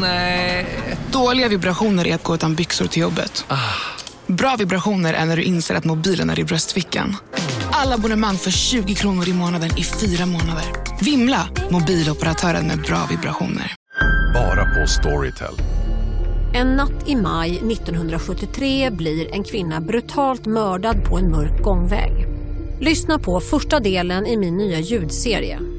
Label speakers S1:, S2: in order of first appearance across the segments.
S1: Nej.
S2: Dåliga vibrationer är att gå utan byxor till jobbet. Bra vibrationer är när du inser att mobilen är i bröstfickan. Alla abonnemang för 20 kronor i månaden i fyra månader. Vimla! Mobiloperatören med bra vibrationer.
S3: Bara på Storytel.
S4: En natt i maj 1973 blir en kvinna brutalt mördad på en mörk gångväg. Lyssna på första delen i min nya ljudserie.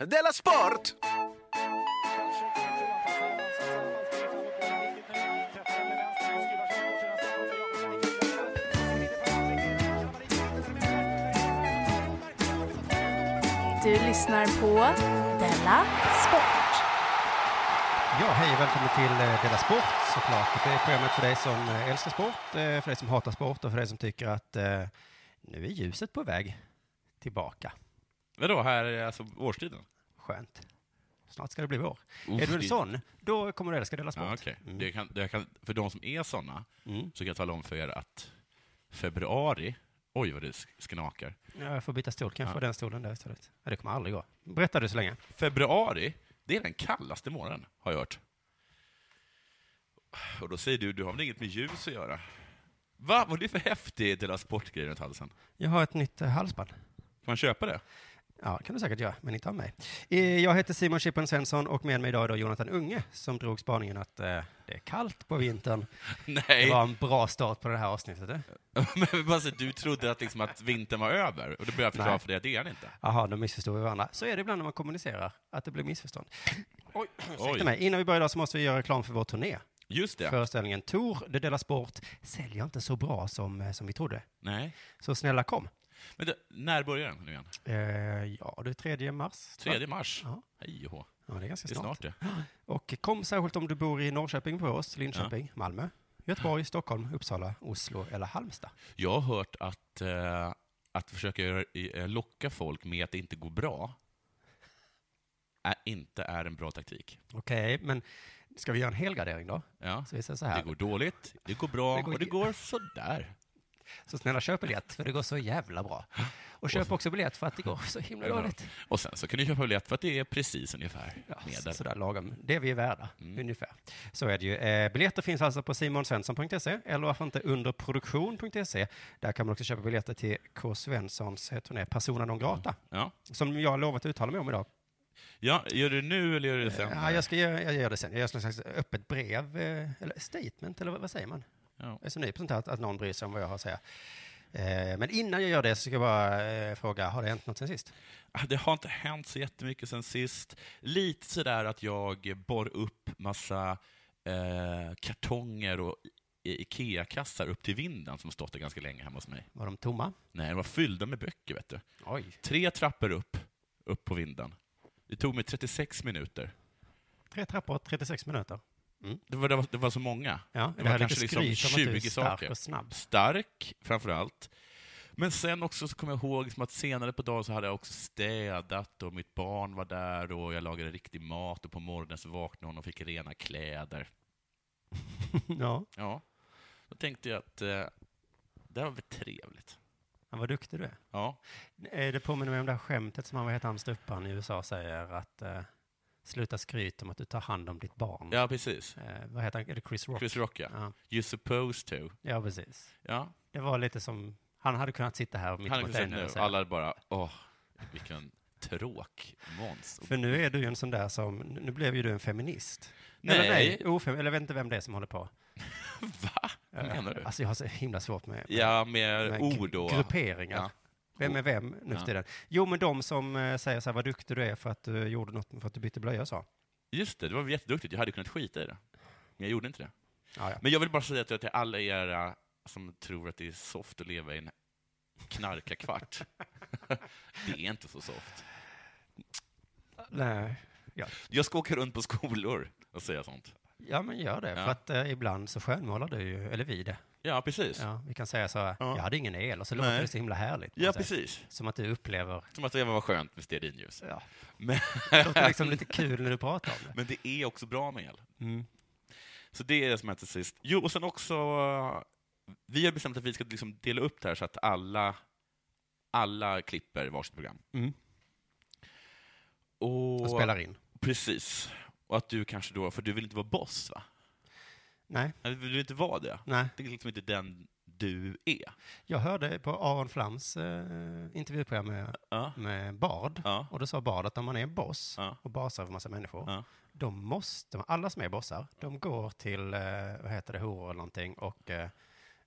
S5: Della Sport!
S6: Du lyssnar på Della Sport.
S7: Ja, hej och välkommen till eh, Della Sport såklart. Det är programmet för dig som eh, älskar sport, eh, för dig som hatar sport och för dig som tycker att eh, nu är ljuset på väg tillbaka.
S8: Vadå, här är alltså årstiden?
S7: Skönt. Snart ska det bli vår.
S8: Uff,
S7: är du en
S8: det-
S7: sån, då kommer du älska Della Sport.
S8: Ja, okej. det kan, det kan, för de som är sådana,
S7: Mm.
S8: så kan jag tala om för er att februari, oj vad det sk- sknakar.
S7: Ja, jag får byta stol, kan jag
S8: Ja.
S7: få den stolen där istället? Ja, det kommer aldrig gå. Berätta du så länge.
S8: Februari, det är den kallaste månaden, har jag hört. Och då säger du, du har väl inget med ljus att göra? Va? Vad är det för häftig Dela Sport-grej runt halsen? Kan
S7: Jag har ett nytt eh, halsband.
S8: man köpa det?
S7: Ja, det kan du säkert göra, men inte av mig. Eh, Jag heter Simon Chippen Svensson och med mig idag är då Jonathan Unge som drog spaningen att eh, det är kallt på vintern.
S8: Nej.
S7: Det var en bra start på det här avsnittet. eh?
S8: Men bara så att du trodde att, liksom, att vintern var över, och då började jag förklara
S7: Nej.
S8: för dig att det är den inte.
S7: Jaha, då missförstod vi varandra. Så är det ibland när man kommunicerar, att det blir missförstånd. Oj, ursäkta
S8: Oj.
S7: mig. Innan vi börjar idag så måste vi göra reklam för vår turné.
S8: Just det.
S7: Föreställningen Tour de Della Sport säljer inte så bra som, eh, som vi trodde.
S8: Nej.
S7: Så snälla kom.
S8: Men du, när börjar den nu igen?
S7: Eh, ja, det är 3 mars. va?
S8: 3 mars?
S7: Ja.
S8: Hej och hå.
S7: Ja, det är ganska
S8: Det är
S7: snart.
S8: snart det.
S7: Och kom särskilt om du bor i Norrköping, Borås, Linköping, Malmö, Göteborg, Stockholm, Uppsala, Oslo eller Halmstad.
S8: Jag har hört att, eh, att försöka göra- i- eh, locka folk med att det inte går bra är, inte är en bra taktik.
S7: Okej, men ska vi göra en helgardering då?
S8: Ja.
S7: Så vi säger så
S8: Det
S7: här.
S8: går dåligt, det går bra
S7: Det går
S8: och det
S7: ge-
S8: går sådär.
S7: Så snälla köp biljett, för det går så jävla bra. Och köp också biljett för att det går så himla
S8: Ja.
S7: dåligt.
S8: Och sen så kan du köpa biljett för att det är precis ungefär
S7: Ja, så-
S8: medel. Mm.
S7: sådär lagom. Det vi är värda, ungefär. Så är det ju. Eh, biljetter finns alltså på simonsvensson.se eller varför inte underproduktion.se. Där kan man också köpa biljetter till K. Svenssons eh, turné Persona non grata,
S8: Ja.
S7: som jag har lovat att uttala mig om idag.
S8: ja, gör du det nu eller gör du det sen?
S7: Ja, jag ska göra jag gör det sen. Jag gör ett slags öppet brev, eh, eller statement, eller vad- vad säger man?
S8: Ja.
S7: Jag är så ny på sånt här, att, att någon bryr sig om vad jag har att säga. Eh, Men innan jag gör det så ska jag bara eh, fråga, har det hänt något sen sist?
S8: Ah, Det har inte hänt så jättemycket sen sist. Lite sådär att jag bar upp massa eh, kartonger och i- IKEA-kassar upp till vinden som stått där ganska länge hemma hos mig.
S7: Var de tomma?
S8: Nej, de var fyllda med böcker, vet du.
S7: Oj.
S8: Tre trappor upp, upp på vinden. Det tog mig 36 minuter.
S7: Tre trappor, 36 minuter.
S8: Det var, det var, det var så många.
S7: Ja,
S8: det
S7: det här
S8: var
S7: är lite
S8: kanske liksom
S7: skryt om att du är
S8: 20
S7: stark
S8: saker.
S7: och snabb.
S8: Stark, framför allt. Men sen också så kommer jag ihåg liksom att senare på dagen så hade jag också städat och mitt barn var där och jag lagade riktig mat och på morgonen så vaknade hon och fick rena kläder.
S7: ja,
S8: Ja, då tänkte jag att eh, det här var väl trevligt.
S7: han var duktig du är.
S8: Ja,
S7: Eh, Det påminner mig om det här skämtet som han, vad heter han, ståupparen i USA säger att eh, sluta skryta om att du tar hand om ditt barn.
S8: ja precis.
S7: Eh, vad heter han? Är det Chris Rock?
S8: Chris Rock, ja.
S7: Ja.
S8: You supposed to.
S7: ja, precis.
S8: Ja,
S7: Det var lite som, han hade kunnat sitta här mitt
S8: han hade
S7: mot dig
S8: sagt
S7: nu
S8: nu,
S7: och säga.
S8: alla hade bara åh, vilken tråk Måns.
S7: För nu är du ju en sån där som, nu blev ju du en feminist.
S8: Nej.
S7: Eller nej, ofem, eller jag vet inte vem det är som håller på.
S8: Va? Vad menar du?
S7: Alltså jag har så himla svårt med, med,
S8: Ja, med
S7: med
S8: ord och...
S7: grupperingar.
S8: Ja.
S7: Vem är vem nu för
S8: Ja.
S7: tiden? Jo, men de som eh, säger så här, vad duktig du är för att du gjorde något, för att du bytte blöja så.
S8: Just det, det var jätteduktigt. Jag hade kunnat skita i det. Men jag gjorde inte det.
S7: Ja, ja.
S8: Men jag vill bara säga till till alla er eh, som tror att det är soft att leva i en knarkarkvart. det är inte så soft.
S7: Nej. Ja.
S8: Jag ska åka runt på skolor och säga sånt.
S7: Ja, men gör det.
S8: Ja.
S7: För att eh, ibland så skönmålar du ju, eller vi det.
S8: Ja, precis. Ja,
S7: Ja, vi kan säga så här,
S8: Ja.
S7: jag hade ingen el, och så låter
S8: Nej.
S7: det så himla härligt. på något sätt.
S8: precis.
S7: Som att du upplever,
S8: Som att det var skönt med stearinljus.
S7: Ja.
S8: Men,
S7: det låter liksom lite kul när du pratar om det.
S8: men det är också bra med el.
S7: Mm.
S8: Så det är det som hände till sist. Jo, och sen också, vi har bestämt att vi ska liksom dela upp det här så att alla, alla klipper varsitt program.
S7: Mm.
S8: Och,
S7: Och spelar in.
S8: Precis. Och att du kanske då, för du vill inte vara boss va?
S7: Nej,
S8: Eller Du vill inte vara det.
S7: nej.
S8: Det är liksom inte den du är.
S7: Jag hörde på Aron Flams eh, intervjuprogram med,
S8: Ja.
S7: med Bard,
S8: Ja.
S7: och då sa Bard att när man är boss
S8: Ja.
S7: och basar över massa människor,
S8: Ja.
S7: då måste man, alla som är bossar, de går till, eh, vad heter det, horor eller någonting och, eh,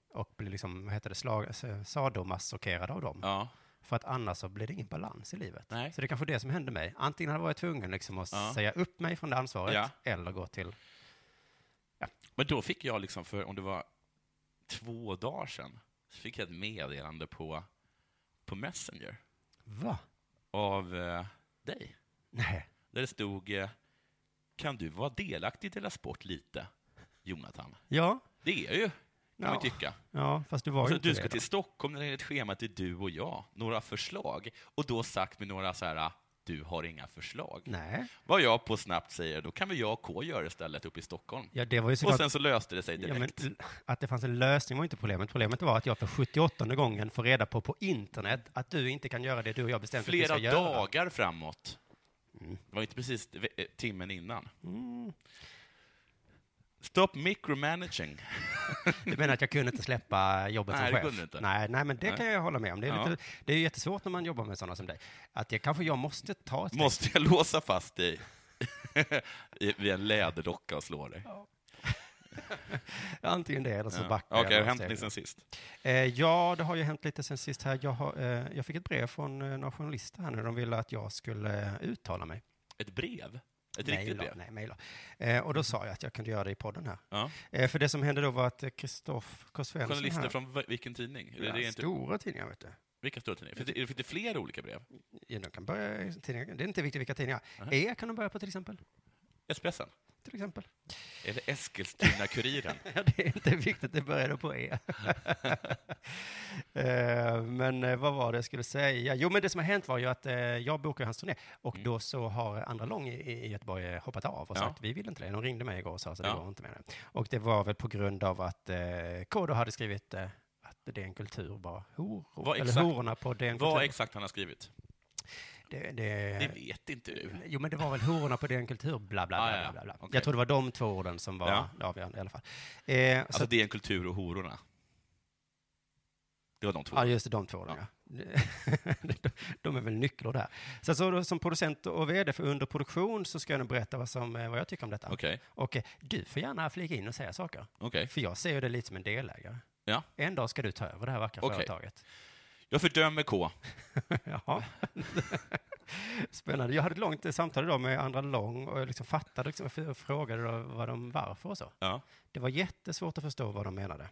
S7: och blir liksom, vad heter det, slag, sadomassokerade av dem.
S8: Ja.
S7: För att annars så blir det ingen balans i livet.
S8: Nej.
S7: Så det är kanske det som hände mig. Antingen hade jag varit tvungen liksom att
S8: Ja.
S7: säga upp mig från det ansvaret
S8: Ja.
S7: eller gå till...
S8: Men då fick jag liksom för, om det var två dagar sedan, så fick jag ett meddelande på, på Messenger
S7: Va?
S8: av eh, dig.
S7: Nej.
S8: Där det stod eh, ”Kan du vara delaktig i Dela Sport lite, Jonathan?”
S7: Ja.
S8: Det är jag ju, kan
S7: Ja.
S8: man tycka.
S7: Ja, fast du var ju
S8: Så
S7: inte
S8: du ska
S7: det då.
S8: till Stockholm när det är ett schema till du och jag, några förslag. Och då sagt med några så här "Ah, ”Du har inga förslag”.
S7: Nej.
S8: Vad jag på snabbt säger, då kan väl jag och K göra det istället uppe i Stockholm.
S7: Ja, det var ju
S8: Och
S7: såklart...
S8: sen så löste det sig
S7: ja, men,
S8: direkt.
S7: l- att det fanns en lösning var inte problemet. Problemet var att jag för 78 gången får reda på på internet att du inte kan göra det du och jag Mm. bestämt
S8: Flera
S7: att vi ska göra.
S8: dagar framåt. Det var inte precis ve- eh, timmen innan.
S7: Mm.
S8: Stop micromanaging.
S7: Du menar att jag kunde inte släppa jobbet
S8: Nej,
S7: som
S8: det
S7: chef?
S8: kunde du inte.
S7: Nej, nej, men det
S8: Nej.
S7: kan jag hålla med om. Det är,
S8: Ja.
S7: lite, det är ju jättesvårt när man jobbar med sådana som dig. Att jag kanske jag måste ta ett steg.
S8: Måste jag låsa fast dig i- vid en läderdocka och slå dig?
S7: Antingen det eller så
S8: Ja.
S7: backar
S8: Okej, har
S7: jag.
S8: det
S7: några
S8: hänt liksom.
S7: steg.
S8: något sen sist?
S7: Eh, ja, det har ju hänt lite sen sist här. Jag, har, eh, jag fick ett brev från eh, några journalister här nu. De ville att jag skulle eh, uttala mig.
S8: Ett brev? Ett riktigt
S7: Mejla,
S8: brev?
S7: Nej, mejla. Eh, och då sa jag att jag kunde göra det i podden här.
S8: Ja.
S7: Eh, för det som hände då var att eh, Kristoff K. Svensson
S8: Journalister
S7: här,
S8: från v- vilken tidning? Eller
S7: Ja,
S8: det är inte,
S7: Stora tidningar, vet du.
S8: vilka stora tidningar? Finns det, finns det flera olika brev?
S7: Ja, de kan börja, i tidningar. Det är inte viktigt vilka tidningar. E kan de börja på till exempel.
S8: Expressen?
S7: Till exempel.
S8: Eller Eskilstuna-Kuriren?
S7: Ja, det är inte viktigt, det började på E. Eh, men eh, vad var det jag skulle säga? Jo, men det som har hänt var ju att eh, jag bokade hans turné och då så har Andra Lång i, i Göteborg eh, hoppat av och
S8: Mm. Ja.
S7: sagt vi vill inte det. De ringde mig igår och sa så det
S8: Ja.
S7: går inte med det. Och det var väl på grund av att eh, Kodo hade skrivit eh, att det är en kultur bara horor,
S8: Vad
S7: eller
S8: exakt-
S7: hororna på DN
S8: Vad
S7: Kultur.
S8: exakt han har skrivit?
S7: Det,
S8: Det
S7: det,
S8: vet inte du.
S7: Jo, men det var väl hororna på DN Kultur, bla, bla, bla.
S8: Ah, ja, ja.
S7: bla, bla, bla.
S8: Okej.
S7: Jag tror det var de två orden som var
S8: Ja.
S7: avgörande i alla fall. Eh, så
S8: Alltså, det är en kultur och hororna. Det var de två.
S7: Ja, just det, de två. orden, Ja. de, de är väl nycklar där. Sen så då, som producent och vd för underproduktion så ska jag nu berätta vad, som, eh, vad jag tycker om detta.
S8: Okej,
S7: Och eh, du får gärna flika in och säga saker.
S8: okej.
S7: För jag ser ju det lite som en delägare.
S8: Ja.
S7: En dag ska du ta över det här vackra
S8: Okej.
S7: företaget.
S8: Jag fördömer K.
S7: Jaha. Spännande. Jag hade ett långt eh, samtal idag med andra lång och jag liksom fattade liksom, och frågade då vad de, varför och så.
S8: Ja.
S7: Det var jättesvårt att förstå vad de menade.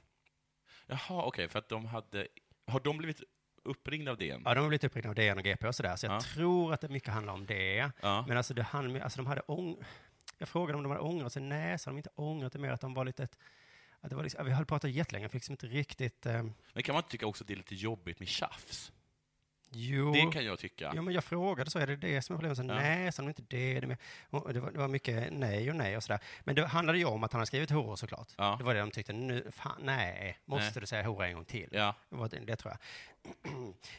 S8: Jaha, okej, för att de hade... Har de blivit uppringda av DN?
S7: Ja, de har blivit uppringda av DN och GP och sådär, så jag
S8: Ja.
S7: tror att det mycket handlar om det.
S8: Ja.
S7: Men alltså, det hann, alltså de hade ång... Jag frågade om de hade ångrat sig. Nej, så de inte ångrat det mer att de var lite ett... Att det var liksom, vi höll på att prata jättelänge, fick liksom inte riktigt... Eh,
S8: Men kan man inte tycka också att det är lite jobbigt med tjafs?
S7: jo,
S8: Det kan jag tycka.
S7: jo, men jag frågade så, är det det som är problemet? Så,
S8: Ja.
S7: Nej, så de inte det. det, med, och det, var, det var mycket nej och nej och sådär. Men det handlade ju om att han hade skrivit horor såklart.
S8: Ja.
S7: Det var det de tyckte, nu, fan, nej, måste
S8: Nej.
S7: du säga hora en gång till?
S8: Ja.
S7: Det, var det, det tror jag.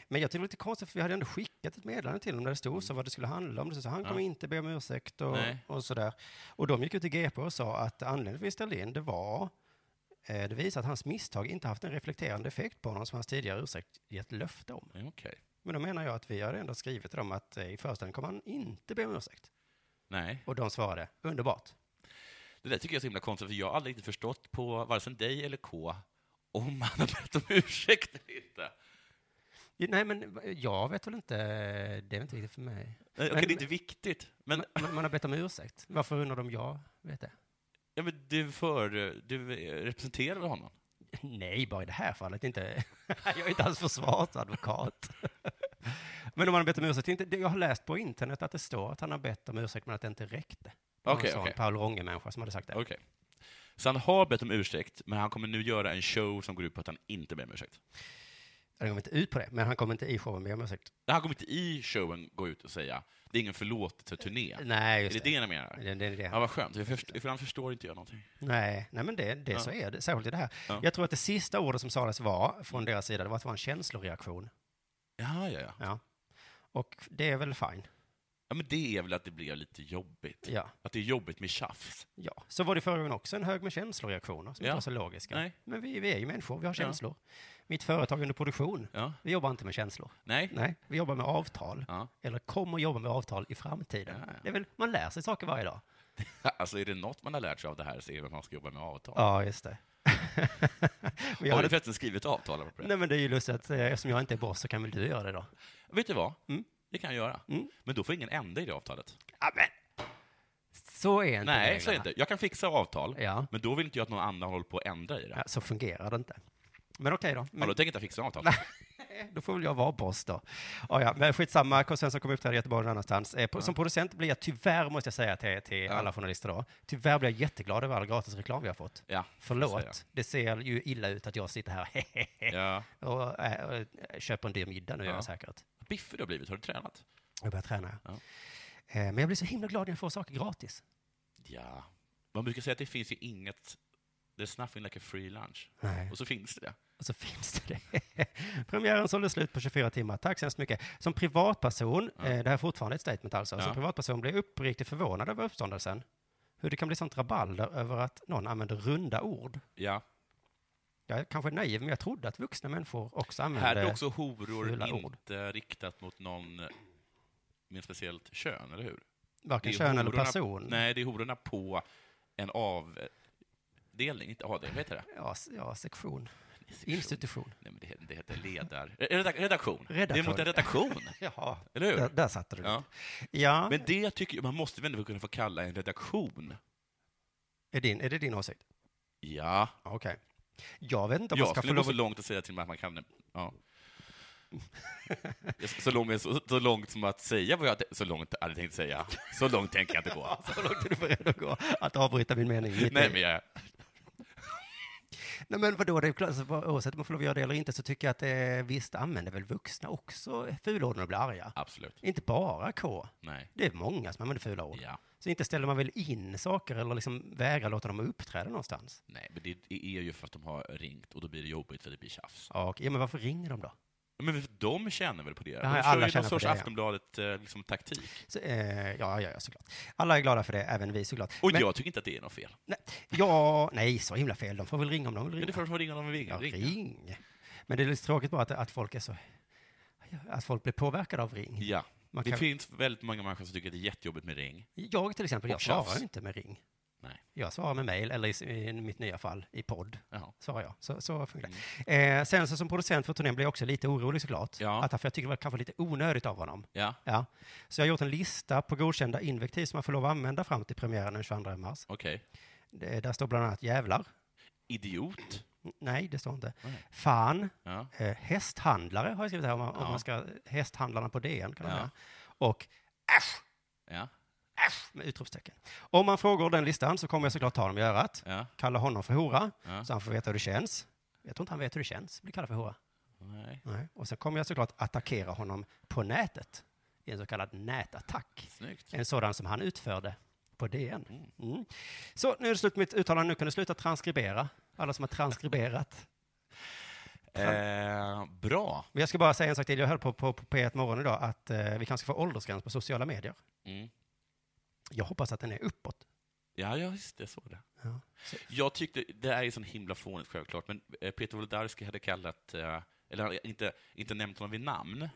S7: Men jag tyckte det var lite konstigt, för vi hade ändå skickat ett meddelande till dem där det stod så vad det skulle handla om. Så han kommer inte be om ursäkt och,
S8: Nej.
S7: och sådär. Och de gick ut i GP och sa att anledningen till att vi ställde in det var eh, det visar att hans misstag inte haft en reflekterande effekt på honom som hans tidigare ursäkt gett löfte om.
S8: Ja, Okej.
S7: Men då menar jag att vi hade ändå skrivit till dem att eh, i föreställningen kommer han inte be om ursäkt.
S8: Nej.
S7: Och de svarade underbart.
S8: Det där tycker jag är så himla konstigt, för jag har aldrig riktigt förstått på vare sig dig eller K om han har bett om ursäkt eller inte.
S7: Ja, Nej, men eh, jag vet väl inte, det är inte riktigt för mig.
S8: Nej, Okej,
S7: Men-
S8: det är inte viktigt, men,
S7: Man, man- man har bett om ursäkt. Varför undrar de jag vet det?
S8: ja, men du, för, du representerar väl honom?
S7: Nej, bara i det här fallet inte. Jag är inte alls försvarsadvokat. Men om han har bett om ursäkt, inte, det- jag har läst på internet att det står att han har bett om ursäkt, men att det inte räckte. Det var
S8: Okej,
S7: en sån
S8: okej.
S7: Paul Ronge-människa som hade sagt det.
S8: Okej. Så han har bett om ursäkt, men han kommer nu göra en show som går ut på att han inte ber om ursäkt.
S7: Han kom inte ut på det, men han kom inte i showen med om ursäkt.
S8: Nej, Han kommer inte i showen gå ut och säga det är ingen förlåtelse-turné.
S7: Nej,
S8: Är
S7: just
S8: det det ni menar?
S7: Det, det, är det.
S8: Ja, vad skönt. Jag förstår, för han förstår inte jag någonting.
S7: Nej, nej, men det, det så är det, särskilt i det här.
S8: Ja.
S7: Jag tror att det sista ordet som sades var, från deras sida, det var att det var en känsloreaktion.
S8: Ja, ja, ja.
S7: Ja. Och det är väl fine.
S8: ja men det är väl att det blir lite jobbigt.
S7: Ja.
S8: Att det är jobbigt med tjafs.
S7: Ja, så var det förra gången också en hög med känsloreaktioner som
S8: Ja.
S7: inte var så logiska.
S8: Nej.
S7: Men vi, vi är ju människor, vi har
S8: Ja.
S7: känslor. Mitt företag är under produktion,
S8: Ja.
S7: vi jobbar inte med känslor.
S8: Nej.
S7: Nej, vi jobbar med avtal.
S8: Ja.
S7: Eller kommer jobba med avtal i framtiden.
S8: Ja, ja.
S7: Det är väl, man lär sig saker varje dag.
S8: Alltså, är det något man har lärt sig av det här så är det att man ska jobba med avtal.
S7: Ja, just det. men jag
S8: Har du
S7: hade...
S8: förresten skrivit avtal? apropå det?
S7: Nej, men det är ju lustigt att eh, eftersom jag inte är boss så kan väl du göra det då?
S8: Vet du vad?
S7: Mm.
S8: Det kan jag göra.
S7: Mm.
S8: Men då får ingen ända i det avtalet.
S7: Ja, men så är inte
S8: Nej,
S7: reglerna.
S8: så är det inte. Jag kan fixa avtal,
S7: Ja.
S8: men då vill inte jag att någon annan håller på att ändra i det.
S7: Ja, så fungerar det inte. Men okej då.
S8: Ja,
S7: Men...
S8: då tänker jag inte fixa avtal.
S7: Då får väl jag vara boss då. Ja, ja, men skitsamma, Karl Svensson kommer uppträda i Göteborg någon annanstans. Eh, på- Som producent blir jag tyvärr, måste jag säga till, till alla journalister då, tyvärr blir jag jätteglad över all gratisreklam vi har fått.
S8: Ja,
S7: Förlåt,
S8: säger jag.
S7: det ser ju illa ut att jag sitter här
S8: Ja.
S7: och, eh, och eh, köper en dyr middag nu, gör jag säkert.
S8: Biffig du har blivit. Har du tränat?
S7: Jag börjar träna.
S8: Ja.
S7: Eh, Men jag blir så himla glad när jag får saker gratis.
S8: Ja. Man brukar säga att det finns ju inget... There's nothing like a free lunch.
S7: Nej.
S8: Och så finns det det.
S7: Och så finns det det. Premiären sålde slut på 24 timmar. Tack så hemskt mycket. Som privatperson, eh, det här är fortfarande ett statement alltså, som
S8: Ja.
S7: privatperson blev jag uppriktigt förvånad över uppståndelsen. Hur det kan bli sånt rabalder över att någon använder runda ord.
S8: Ja.
S7: Jag är kanske naiv, men jag trodde att vuxna människor också använde...
S8: Här är det också horor
S7: Mm. fula
S8: inte
S7: ord.
S8: riktat mot någon med speciellt kön, eller hur?
S7: varken
S8: Det är
S7: kön eller
S8: hororna-
S7: person.
S8: Nej, det är hororna på en avdelning, inte avdelning, vad heter det?
S7: Ja, s- ja, sektion. Institution.
S8: Nej, men det, he- det heter ledar... eh, redak- Redaktion. Det är mot
S7: Redaktion.
S8: en redaktion,
S7: Jaha.
S8: eller hur?
S7: Där, där satte du det.
S8: Ja.
S7: Ja. ja.
S8: Men det tycker jag, man måste väl ändå kunna få kalla en redaktion?
S7: Är, din, är det din åsikt?
S8: Ja.
S7: Ja, Okej. Jag vet inte om man
S8: Jag
S7: ska få
S8: skulle gå
S7: lov
S8: så
S7: att...
S8: långt att säga till mig att man kan... Ja. Så långt, så, så långt som att säga vad jag... Så långt hade jag tänkt säga. Så långt tänker jag inte gå.
S7: Så långt är du beredd att gå, att avbryta min mening. mitt
S8: Nej,
S7: i.
S8: men jag...
S7: Nej men vadå, det är klart, alltså, vad- oavsett om man får lov att göra det eller inte så tycker jag att eh, visst använder väl vuxna också fulorden och blir arga.
S8: Absolut.
S7: Inte bara K.
S8: Nej.
S7: Det är många som använder fula ord.
S8: Ja.
S7: Så inte ställer man väl in saker eller liksom vägrar låta dem uppträda någonstans.
S8: Nej, men det är ju för att de har ringt och då blir det jobbigt för det blir tjafs.
S7: Ja, och, ja men varför ringer de då?
S8: Men de känner väl på det?
S7: alla
S8: De kör ju någon
S7: känner på
S8: sorts
S7: det, ja.
S8: Aftonbladet-taktik. Liksom, taktik.
S7: Så, eh, ja, ja, ja, såklart. Alla är glada för det, även vi såklart.
S8: och
S7: Men-
S8: jag tycker inte att det är något fel.
S7: Nej, ja, nej, så himla fel. De får väl ringa om de vill
S8: Men det
S7: ringa.
S8: får de ringa om de vill.
S7: Ja,
S8: Ring.
S7: ring. Men det är lite tråkigt bara att, att folk är så... Att folk blir påverkade av ring.
S8: Ja.
S7: Man
S8: Det
S7: kan-
S8: finns väldigt många människor som tycker att det är jättejobbigt med ring.
S7: Jag till exempel, jag
S8: Och tjafs.
S7: svarar ju inte med ring.
S8: Nej.
S7: Jag svarar med mejl, eller i, i mitt nya fall, i podd.
S8: Jaha.
S7: Svarar jag. Så, så funkar det. Eh, sen så som producent för turnén blev jag också lite orolig såklart.
S8: Mm. Ja.
S7: Att, för jag tycker det var kanske lite onödigt av honom.
S8: Ja,
S7: Ja. Så jag har gjort en lista på godkända invektiv som man får lov att använda fram till premiären den 22 mars.
S8: okej.
S7: Det, där står bland annat jävlar.
S8: Idiot.
S7: N- Nej, det står inte. Fan.
S8: Ja.
S7: Eh, hästhandlare har jag skrivit här, om man, om man ska, hästhandlarna på DN kan man säga. Och
S8: Ja.
S7: med utropstecken. Om man frågar den listan så kommer jag såklart ta dem i örat.
S8: Ja.
S7: Kalla honom för hora, så han får veta hur det känns. Jag tror inte han vet hur det känns att bli kallad för hora.
S8: Nej.
S7: Nej. Och sen kommer jag såklart attackera honom på nätet, i en så kallad nätattack.
S8: Snyggt.
S7: En sådan som han utförde på DN. Mm. Så nu är det slut med mitt uttalande, nu kan du sluta transkribera. Alla som har transkriberat.
S8: Eh, bra.
S7: Men jag ska bara säga en sak till, jag hörde på, på, på P1 Morgon idag att eh, vi kanske ska få åldersgräns på sociala medier.
S8: Mm.
S7: Jag hoppas att den är uppåt.
S8: Ja, ja, visst, jag såg det.
S7: Ja.
S8: Jag tyckte, det här är så himla fånigt självklart, men eh, Peter Wolodarski hade kallat, eh, eller han hade inte, inte nämnt honom vid namn,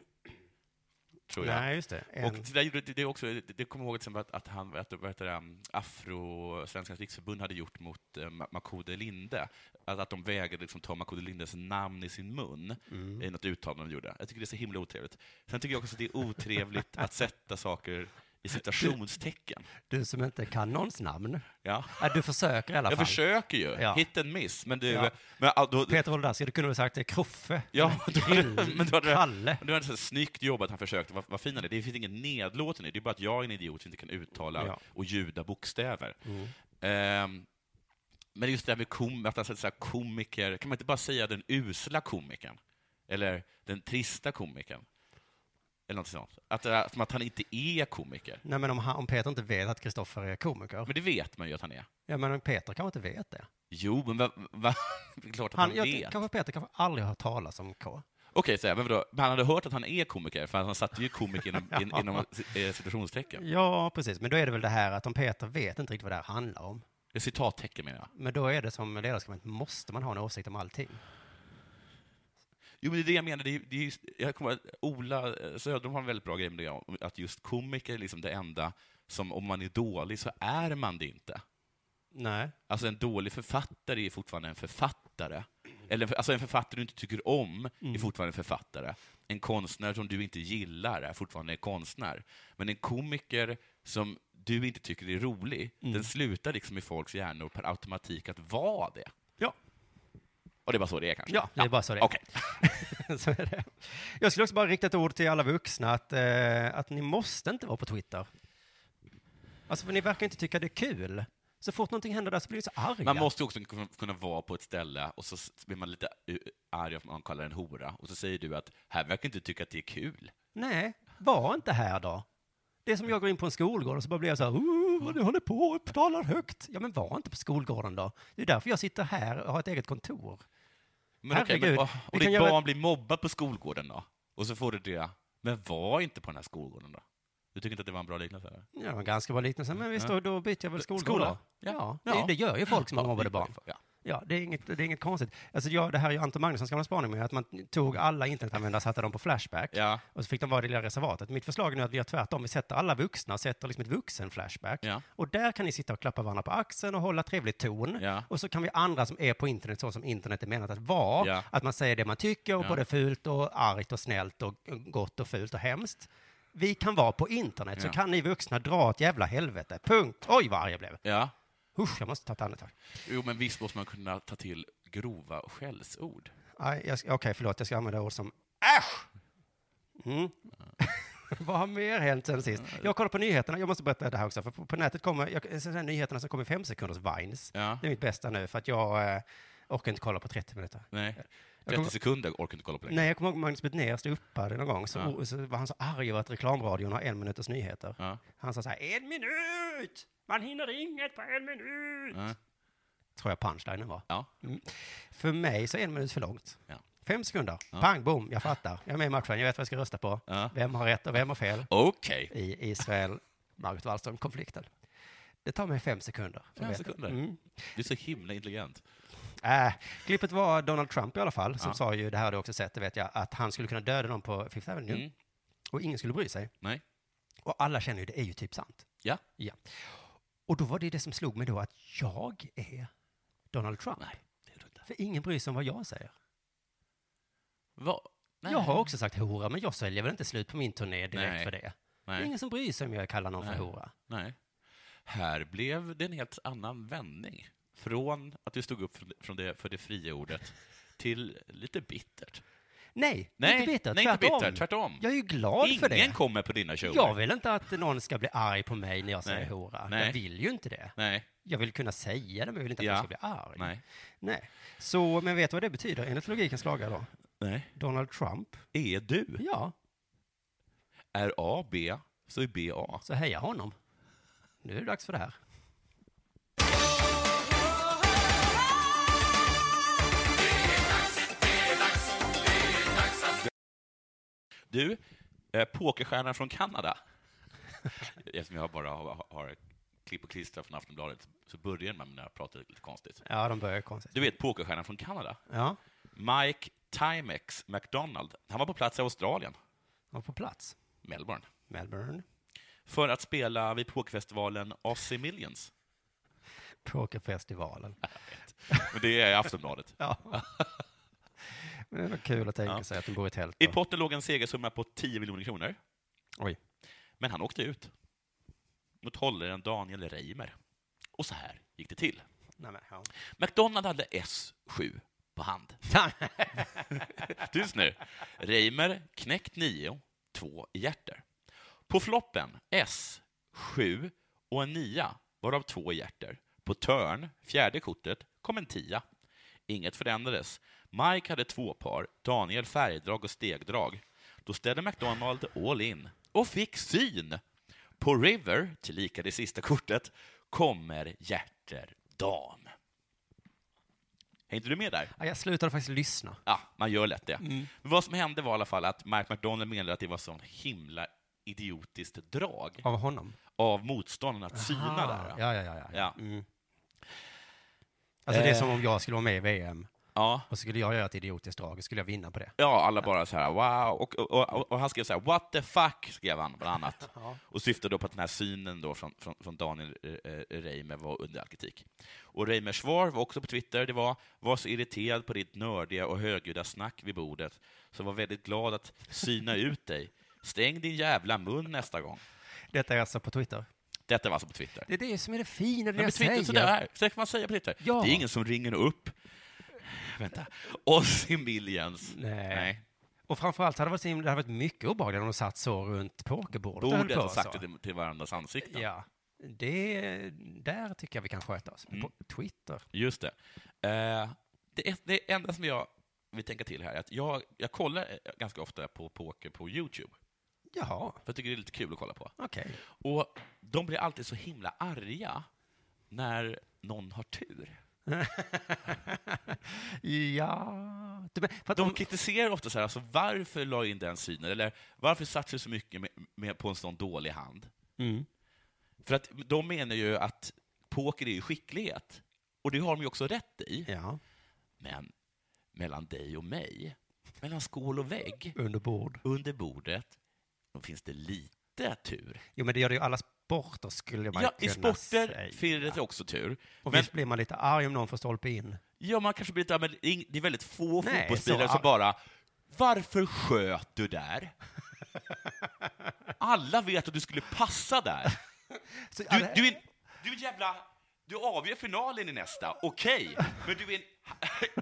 S8: tror jag.
S7: Nej, just det. En,
S8: Och det, där gjorde- det, det, också, det, det kommer jag ihåg till exempel att, att han, att, vad heter det, Afro, Svenskans riksförbund hade gjort mot eh, Ma- Makode Linde, att, att de vägrade liksom, ta Makode Lindes namn i sin mun
S7: Mm.
S8: i något uttalande de gjorde. Jag tycker det är så himla otrevligt. Sen tycker jag också att det är otrevligt att sätta saker i citationstecken.
S7: Du som inte kan någons namn.
S8: Ja.
S7: Ja, du försöker i alla fall.
S8: Jag försöker ju.
S7: Ja.
S8: Hit and miss. Men du...
S7: Ja.
S8: Men, ah, då,
S7: Peter Wolodarski, du kunde väl sagt eh, det, Kroffe,
S8: Ja, då,
S7: Krille,
S8: men då hade,
S7: Kalle.
S8: Men då hade det så här snyggt jobbat, han försökte. Vad, vad fin han är. Det finns ingen nedlåten i det. Det är bara att jag är en idiot som inte kan uttala
S7: Ja. Mm.
S8: och ljuda bokstäver. Ehm, men just det här med kom, att han säger så här, komiker, kan man inte bara säga den usla komikern? Eller den trista komikern? Eller något sånt. Att, det är som att han inte är komiker.
S7: Nej, men om, han, om Peter inte vet att Kristoffer är komiker.
S8: Men det vet man ju att han är.
S7: Ja, men om Peter kanske inte vet det.
S8: Jo, men va, va, det är klart att han,
S7: Han,
S8: vet.
S7: jag, kanske Peter kanske aldrig har hört talas om K.
S8: Okej, så här, men vadå? Men han hade hört att han är komiker, för han satte ju komiker inom, in, inom eh, citationstecken.
S7: Ja, precis. Men då är det väl det här att om Peter vet inte riktigt vad det här handlar om.
S8: Eh, Citattecken menar jag.
S7: Men då är det som ledarskribent, måste man ha en åsikt om allting?
S8: Jo, men det är det jag menar. Det är, det är just, jag kommer att Ola eh, Söderholm har en väldigt bra grej med det, om att just komiker är liksom det enda som, om man är dålig, så är man det inte.
S7: Nej.
S8: Alltså en dålig författare är fortfarande en författare. Eller, en för- alltså en författare du inte tycker om är fortfarande en författare. En konstnär som du inte gillar är fortfarande en konstnär. Men en komiker som du inte tycker är rolig, den slutar liksom i folks hjärnor per automatik att vara det.
S7: Ja.
S8: Och det är bara så det är kanske?
S7: Ja, det är bara så det är.
S8: Okej.
S7: Så är det. Jag skulle också bara rikta ett ord till alla vuxna att, eh, att ni måste inte vara på Twitter. Alltså, för ni verkar inte tycka det är kul. Så fort någonting händer där så blir ni så arga.
S8: Man måste ju också kunna- kunna vara på ett ställe och så s- blir man lite eh, arg om man kallar en hora och så säger du att här verkar inte tycka att det är kul.
S7: Nej, var inte här då. Det är som jag går in på en skolgård och så bara blir jag så här, "Uh, vad ni håller på och talar högt. Ja, men var inte på skolgården då. Det är därför jag sitter här och har ett eget kontor.
S8: Men okej, men,
S7: Herregud,
S8: och,
S7: vi
S8: och ditt
S7: kan göra-
S8: barn blir mobbad på skolgården då? Och så får du det. Men var inte på den här skolgården då? Du tycker inte att det var en bra liknelse? Eller?
S7: Ja, det var en ganska bra liknelse, men visst, då, då byter jag väl skolgård
S8: Skola?
S7: då. Ja,
S8: Ja.
S7: Det, det gör ju folk som har mobbade barn.
S8: Ja.
S7: Ja, det är inget, det är inget konstigt. Alltså jag, det här är ju Anton Magnussons gamla spaning med att man tog alla internetanvändare och satte dem på Flashback.
S8: Ja.
S7: Och så fick de vara i det lilla reservatet. Mitt förslag är nu att vi gör tvärtom. Vi sätter alla vuxna, sätter liksom ett vuxen-Flashback.
S8: Ja.
S7: Och där kan ni sitta och klappa varandra på axeln och hålla trevlig ton.
S8: Ja.
S7: Och så kan vi andra som är på internet, så som internet är menat att vara,
S8: Ja.
S7: att man säger det man tycker, och
S8: Ja.
S7: både fult och argt och snällt och gott och fult och hemskt. Vi kan vara på internet, så
S8: Ja.
S7: kan ni vuxna dra ett jävla helvete. Punkt. Oj, vad arg jag blev.
S8: ja.
S7: Usch, jag måste ta ett andetag.
S8: Jo, men visst måste man kunna ta till grova skällsord?
S7: Aj, jag ska- Okej, förlåt, jag ska använda ord som äsch! Mm. Vad har mer hänt sen sist? Jag kollar på nyheterna, jag måste berätta det här också, för på, på nätet kommer, jag, sen här nyheterna som kommer i fem sekunders Vines,
S8: Ja.
S7: det är mitt bästa nu, för att jag eh, orkar inte kolla på 30 minuter.
S8: Nej.
S7: kommer-
S8: 30 sekunder orkar inte kolla på längre.
S7: Nej, jag kommer ihåg Magnus Betnér stod uppe någon gång, så, så var han så arg över att reklamradion har en minuters nyheter.
S8: Ja.
S7: Han sa så här, en minut! Man hinner inget på en minut!
S8: Ja.
S7: Tror jag punchlinen var. Mm.
S8: Ja.
S7: För mig så är en minut för långt.
S8: Ja.
S7: Fem sekunder. Pang, boom, jag fattar. Jag är med i matchen, jag vet vad jag ska rösta på.
S8: Ja.
S7: Vem har rätt och vem har fel
S8: Okej.
S7: i Israel-Margot Wallström-konflikten? Det tar mig fem sekunder. att
S8: Fem
S7: veta.
S8: sekunder.
S7: Mm.
S8: Du är så himla intelligent.
S7: Äh, klippet var Donald Trump i alla fall, som sa ju, det här har du också sett, det vet jag, att han skulle kunna döda någon på Fifth Avenue.
S8: Mm.
S7: Och ingen skulle bry sig.
S8: Nej.
S7: Och alla känner ju, det är ju typ sant.
S8: Ja.
S7: Ja. Och då var det det som slog mig då, att jag är Donald Trump. Nej, det är du inte. För ingen bryr sig om vad jag säger.
S8: Va? Nej.
S7: Jag har också sagt hora, men jag säljer väl inte slut på min turné direkt
S8: Nej.
S7: för det. Det är
S8: Nej.
S7: ingen som bryr sig om jag kallar någon
S8: Nej.
S7: för hora.
S8: Nej. Här blev det en helt annan vändning. Från att du stod upp för- från det, för det fria ordet till lite bittert.
S7: Nej,
S8: Nej,
S7: inte bitter,
S8: nej, inte
S7: tvärtom.
S8: bitter, tvärtom.
S7: Jag är ju glad
S8: Ingen
S7: för det.
S8: kommer på dina shower.
S7: Jag vill inte att någon ska bli arg på mig när jag säger
S8: Nej.
S7: hora.
S8: Nej.
S7: Jag vill ju inte det.
S8: Nej,
S7: Jag vill kunna säga det, men jag vill inte att
S8: Ja.
S7: någon ska bli arg.
S8: nej.
S7: Nej. Så, men vet du vad det betyder enligt logikens lagar då?
S8: Nej.
S7: Donald Trump?
S8: Är du?
S7: Ja,
S8: Är A B, så är B A.
S7: så heja honom. Nu är det dags för det här.
S8: Du, eh, pokerstjärnan från Kanada. Eftersom jag bara har, har klipp och klistra från Aftonbladet så börjar man med att prata lite konstigt.
S7: Ja, de börjar konstigt.
S8: Du vet pokerstjärnan från Kanada?
S7: Ja,
S8: Mike Timex McDonald. Han var på plats i Australien,
S7: och på plats.
S8: Melbourne,
S7: Melbourne.
S8: för att spela vid pokerfestivalen Aussie Millions.
S7: Pokerfestivalen.
S8: Men det är Aftonbladet.
S7: Ja. Men det var kul att tänka sig att de bor i ett tält.
S8: I
S7: då.
S8: potten låg en segersumma på 10 miljoner kronor,
S7: Oj.
S8: men han åkte ut. mot holländaren Daniel Reimer. Och så här gick det till.
S7: Nej, men, ja.
S8: McDonald hade S7 på hand. Tyst nu. Reimer knäckt 9, 2 i hjärter. På floppen S, 7 och en 9, varav två i hjärter. På törn, fjärde kortet, kom en 10. Inget förändrades. Mike hade två par, Daniel färgdrag och stegdrag. Då ställde McDonald all in och fick syn. På River, tillika det sista kortet, kommer hjärter dam. Hängde du med där?
S7: Ja, jag slutade faktiskt lyssna.
S8: Ja, man gör lätt det. Men vad som hände var i alla fall att Mark McDonald menade att det var sån himla idiotiskt drag
S7: Av honom?
S8: av motståndaren att syna där.
S7: Ja, ja, ja. ja.
S8: Ah. Ja. Eh.
S7: Mm. Alltså det är som om jag skulle vara med i VM
S8: Ja.
S7: och skulle jag göra ett idiotiskt drag, skulle jag vinna på det?
S8: Ja, alla bara så här wow. Och, och, och, och han skrev så här what the fuck, skrev han bland annat. Och syftade då på att den här synen då från, från, från Daniel eh, eh, Reimer var under all kritik. Och Reimers svar var också på Twitter, det var var så irriterad på ditt nördiga och högljudda snack vid bordet, så var väldigt glad att syna ut dig. Stäng din jävla mun nästa gång.
S7: Detta är alltså på Twitter?
S8: Detta var alltså på Twitter.
S7: Det är det som är det fina,
S8: Men
S7: det
S8: på
S7: jag
S8: Twitter
S7: säger.
S8: så där, så där kan man säga på Twitter.
S7: Ja.
S8: Det är ingen som ringer upp. Vänta. Ozzy Millions.
S7: Nej. Och framförallt hade det varit, så himla- det hade varit mycket obehagligt om de satt så runt pokerbordet. och höll
S8: Bordet
S7: på
S8: har
S7: så.
S8: sagt det till- till varandras ansikten.
S7: Ja, det, där tycker jag vi kan sköta oss.
S8: Mm.
S7: Men På Twitter.
S8: Just det. Eh, det, är- det enda som jag vill tänka till här är att jag, jag kollar eh, ganska ofta på poker på YouTube,
S7: Jaha,
S8: för jag tycker det är lite kul att kolla på.
S7: okej.
S8: Och de blir alltid så himla arga när någon har tur.
S7: Ja. Du, men, för att
S8: De
S7: om-
S8: kritiserar ofta så här, alltså, varför la jag in den synen? Eller varför satsar du så mycket med, med, på en sån dålig hand?
S7: Mm.
S8: För att de menar ju att poker är ju skicklighet. Och det har de ju också rätt i.
S7: Ja,
S8: Men mellan dig och mig, mellan skål och vägg,
S7: under bord.
S8: under bordet, då finns det lite tur.
S7: Jo, men det gör det ju i alla sporter skulle man
S8: Ja, i
S7: kunna
S8: sporter
S7: säga.
S8: finns det också tur.
S7: Och
S8: Men
S7: visst blir man lite arg om någon får stolpe in.
S8: ja, man kanske blir lite, men ing- det är väldigt få
S7: Nej,
S8: fotbollsspelare
S7: så-
S8: som bara ”Varför sköt du där?” Alla vet att du skulle passa där.
S7: Så,
S8: Du, du, är, en- du är en jävla... Du avgör finalen i nästa, okej, men du är en...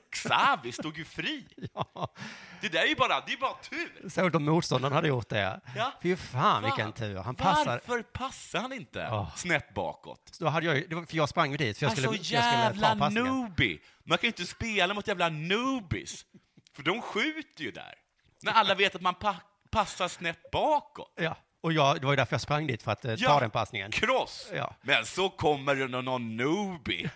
S8: Xavi stod ju fri!
S7: ja,
S8: Det där är ju bara, det är bara tur!
S7: såg du om motståndaren hade gjort det?
S8: Ja.
S7: Fy fan
S8: Va-
S7: vilken tur. Han passar.
S8: Varför passar han inte
S7: Ah.
S8: snett bakåt?
S7: Då hade jag, ju- det var, för jag sprang ju dit för jag skulle,
S8: alltså
S7: jag skulle
S8: jävla
S7: ta passningen.
S8: noobie! Man kan ju inte spela mot jävla noobies, för de skjuter ju där. När alla vet att man pa- passar snett bakåt.
S7: Ja, och jag, det var ju därför jag sprang dit för att eh,
S8: Ja,
S7: ta den passningen.
S8: Kross!
S7: Ja.
S8: Men så kommer det någon, någon noobie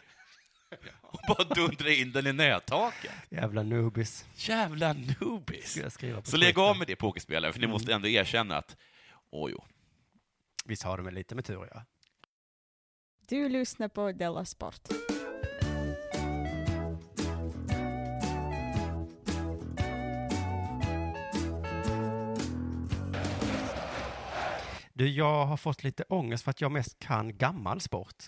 S8: och bara dundrar in den i nättaket.
S7: Jävla noobies.
S8: Jävla noobies!
S7: Ska jag skriva på
S8: Så lägg
S7: Twitter? Mm.
S8: av med det pokerspelare, för ni måste ändå erkänna att, åh jo.
S7: Visst har de väl lite med tur, ja.
S1: Du lyssnar på Della Sport.
S7: Du, jag har fått lite ångest för att jag mest kan gammal sport.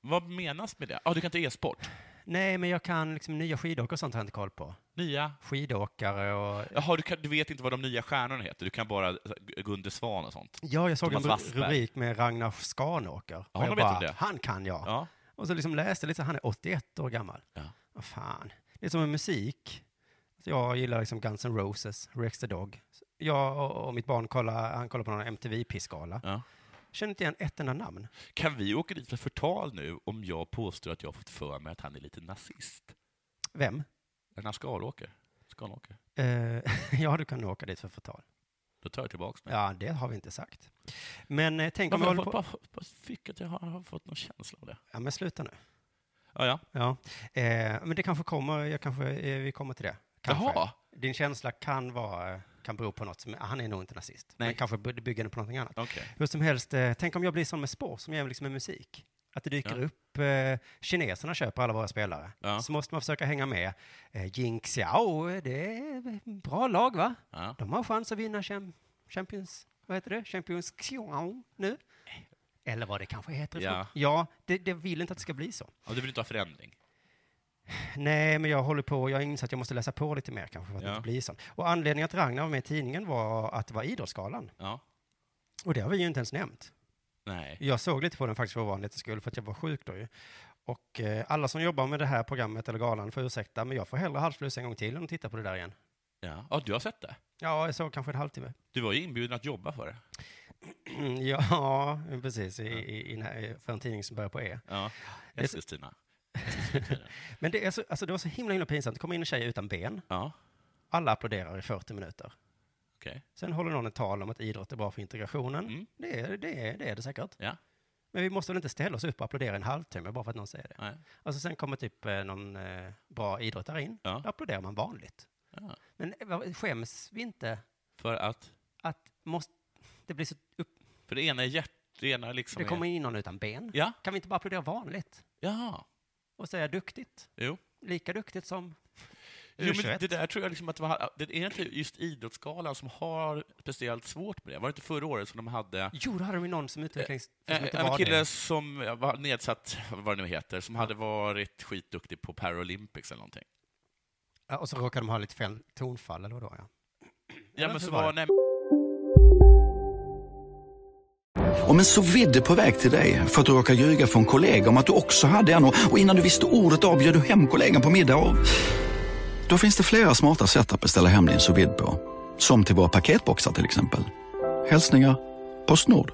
S8: Vad menas med det? Ja, ah, du kan inte e-sport?
S7: Nej, men jag kan liksom nya skidåkare och sånt har jag inte koll på.
S8: Nya
S7: Skidåkare och...
S8: Jaha, du, kan, du vet inte vad de nya stjärnorna heter? Du kan bara Gunde Svan och sånt?
S7: Ja, jag såg en
S8: Thomas
S7: ru-
S8: Wassberg.
S7: rubrik med Ragnar Skanåker. och
S8: de
S7: jag
S8: vet om det.
S7: han kan jag.
S8: Ja.
S7: Och så liksom läste lite, han är 81 år gammal.
S8: Ja.
S7: Vad fan. Det är som med musik. Så jag gillar liksom Guns N' Roses, Rex the Dog. Jag och, och mitt barn kollar, han kollar på någon MTV-pissgala.
S8: Ja.
S7: Känner inte igen ett enda namn.
S8: Kan vi åka dit för förtal nu om jag påstår att jag har fått för mig att han är lite nazist?
S7: Vem?
S8: Den här Skaråker? Skaråker?
S7: Eh, ja, du kan åka dit för förtal.
S8: Då tar jag tillbaka mig.
S7: Ja, det har vi inte sagt. Men eh, tänk om
S8: Varför
S7: jag
S8: jag
S7: håller
S8: bara,
S7: på...
S8: bara, bara fick att jag har, har fått någon känsla av det.
S7: Ja, men sluta nu.
S8: Ja, ja.
S7: Ja, eh, men det kanske kommer, jag kanske, eh, vi kommer till det. Kanske.
S8: Jaha.
S7: Din känsla kan vara, kan bero på något som, han är nog inte nazist,
S8: Nej.
S7: men kanske by- bygger den på någonting annat.
S8: Okej.
S7: Hur som helst, eh, tänk om jag blir sån med sport som jag är liksom med musik. Att det dyker upp, eh, kineserna köper alla våra spelare.
S8: Ja.
S7: Så måste man försöka hänga med. Eh, Jing Xiao, eh, det är bra lag va?
S8: Ja.
S7: De har chans att vinna champ- Champions, vad heter det? Champions Xiao nu. Eller vad det kanske heter.
S8: Eh. Ja.
S7: Ja, ja det, det vill inte att det ska bli så.
S8: Ja, du vill inte ha förändring?
S7: Nej, men jag håller på, jag inser att jag måste läsa på lite mer kanske för att
S8: Ja.
S7: inte bli sån. Och anledningen att Ragnar var med i tidningen var att det var Idrottsgalan.
S8: Ja.
S7: Och det har vi ju inte ens nämnt.
S8: Nej.
S7: Jag såg lite på den faktiskt för ovanlighetens skull, för att jag var sjuk då ju. Och eh, alla som jobbar med det här programmet eller galan får ursäkta, men jag får hellre halsfluss en gång till än att titta på det där igen.
S8: Ja. ja, du har sett det?
S7: Ja, jag såg kanske en halvtimme.
S8: Du var ju inbjuden att jobba för det.
S7: ja, precis. I, i, i, den här- för en tidning som börjar på E.
S8: Ja,
S7: Det är så-
S8: Eskilstuna.
S7: Men det, är så, alltså, det var så himla, himla pinsamt. Det kommer in en tjej utan ben.
S8: Ja.
S7: Alla applåderar i 40 minuter.
S8: Okej.
S7: Sen håller någon ett tal om att idrott är bra för integrationen. Det, är, det, är, det är det säkert.
S8: Mm. Ja.
S7: Men vi måste väl inte ställa oss upp och applådera en halvtimme bara för att någon säger det.
S8: Nej.
S7: Alltså sen kommer typ eh, någon eh, bra idrottare in.
S8: Ja.
S7: Då applåderar man vanligt.
S8: Ja.
S7: Men eh, vad- skäms vi inte
S8: För att?
S7: att måste, det blir så upp...
S8: För det ena är hjärt... Det ena liksom
S7: det kommer
S8: är...
S7: in någon utan ben.
S8: Ja.
S7: Kan vi inte bara applådera vanligt?
S8: Jaha.
S7: Och säga duktigt.
S8: Jo.
S7: Lika duktigt som...
S8: Jo, men
S7: U21.
S8: det där tror jag liksom att det var, det är inte just Idrottsgalan som har speciellt svårt med det. Var det inte förra året som de hade
S7: Jo, då hade de ju någon som utvecklings... som inte
S8: Eh, En
S7: var
S8: kille
S7: det.
S8: som var nedsatt, vad det nu heter, som hade varit skitduktig på Paralympics eller någonting.
S7: Ja, och så råkade de ha lite fel tonfall eller vadå? Ja.
S8: Ja, men
S7: så
S8: så
S7: var
S8: var
S7: det.
S8: nej,
S9: Om en så vidd är på väg till dig för att du råkar ljuga från kollega om att du också hade en och och innan du visste ordet av bjöd du hem kollegan på middag och... Då finns det flera smarta sätt att beställa hem din sous vide på. Som till våra paketboxar till exempel. Hälsningar Postnord.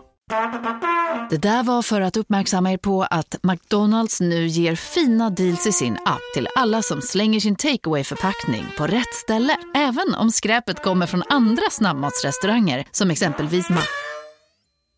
S10: Det där var för att uppmärksamma er på att McDonalds nu ger fina deals i sin app till alla som slänger sin takeaway förpackning på rätt ställe. Även om skräpet kommer från andra snabbmatsrestauranger som exempelvis Ma...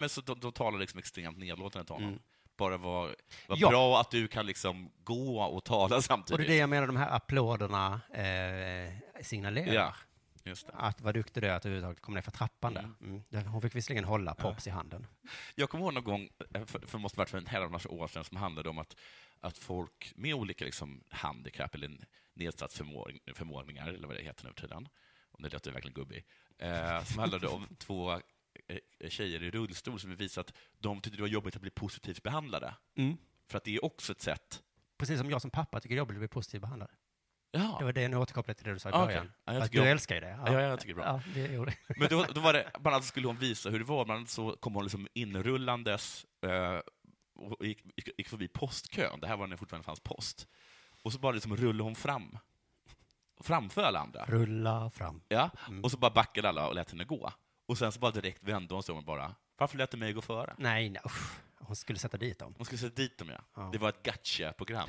S8: men så de, de talar liksom extremt nedlåtande till honom.
S7: Mm.
S8: Bara vad vad
S7: Ja.
S8: bra att du kan liksom gå och tala samtidigt.
S7: Och det är det jag menar, de här applåderna eh, signalerar.
S8: Ja, just det.
S7: Att vad duktig du är att du överhuvudtaget kom ner för trappan där. Mm. Det- Hon fick visserligen hålla Pops i handen.
S8: Jag kommer ihåg någon gång, eh, för, för det måste varit för en herrans massa år sedan, som handlade om att, att folk med olika liksom, handikapp eller nedsatt förmå- förmåningar, eller vad det heter nu för tiden, om det låter verkligen gubbig, eh, som handlade om två eh, tjejer i rullstol som visade att de tyckte det var jobbigt att bli positivt behandlade.
S7: Mm.
S8: För att det är också ett sätt...
S7: Precis som jag som pappa tycker det är jobbigt att bli positivt behandlad.
S8: Ja.
S7: Det var det, nu återkopplar jag till det du sa i
S8: Ah, okej.
S7: början.
S8: Ja, jag
S7: att
S8: tycker
S7: du
S8: om-
S7: älskar ju det.
S8: Ja, ja, jag tycker det är bra.
S7: Ja, det gjorde jag.
S8: Men då, då var det, bland annat skulle hon visa hur det var, bland annat så kom hon liksom inrullandes eh, och gick, gick, gick förbi postkön, det här var när det fortfarande fanns post. Och så bara liksom rullade hon fram, framför alla andra.
S7: Rulla fram.
S8: Ja,
S7: Mm.
S8: och så bara backade alla och lät henne gå. Och sen så bara direkt vände hon sig om och bara, varför lät du mig gå före?
S7: Nej, nej usch. Hon skulle sätta dit dem.
S8: Hon skulle sätta dit dem, ja. Det var ett gacha-program.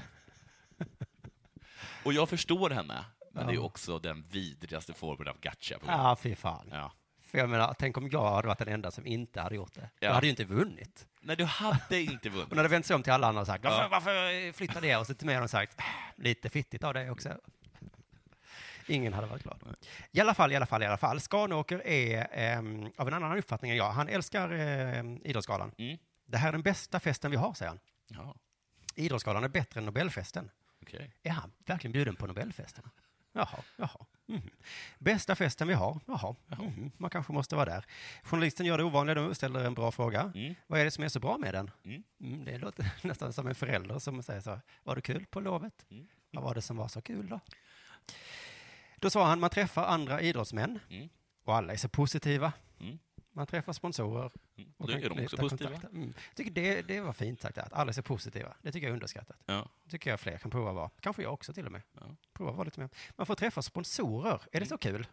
S8: och jag förstår henne, men det är
S7: Ja.
S8: också den vidrigaste formen av gacha-program.
S7: Ja, fy fan.
S8: Mm. Ja.
S7: För jag menar, tänk om jag hade varit den enda som inte hade gjort det. Jag
S8: Ja.
S7: hade ju inte vunnit.
S8: Nej, du hade inte
S7: Hon hade
S8: vunnit.
S7: vänt sig om till alla andra och sagt,
S8: Ja.
S7: varför, varför flyttade jag? Och så till mig hade hon sagt, "Ah, lite fittigt av dig också. Ingen hade varit glad. I alla fall, i alla fall, i alla fall. Skanåker är ehm, av en annan uppfattning än jag. Han älskar ehm, Idrottsgalan. Det här är den bästa festen vi har, säger han.
S8: Ja,
S7: Idrottsgalan är bättre än Nobelfesten.
S8: okej.
S7: Är han verkligen bjuden på Nobelfesten? Jaha, jaha. Mhm. Bästa festen vi har? Jaha, mhm. man kanske måste vara där. Journalisten gör det ovanliga, de ställer en bra fråga. Vad är det som är så bra med den?
S8: Mm.
S7: det låter nästan som en förälder som säger så här, var det kul på lovet?
S8: Mm.
S7: Vad var det som var så kul då? Då sa han, man träffar andra idrottsmän
S8: Mm.
S7: och alla är så positiva.
S8: Mm.
S7: Man träffar sponsorer. och
S8: Då
S7: kan
S8: är de också
S7: knyta
S8: positiva.
S7: kontakter. Mm. Jag tycker det, det var fint sagt, att alla är så positiva. Det tycker jag är underskattat
S8: Ja.
S7: tycker jag fler kan prova vara. Kanske jag också till och med.
S8: Ja. Mm.
S7: Prova vara lite mer. Man får träffa sponsorer. Är det så kul?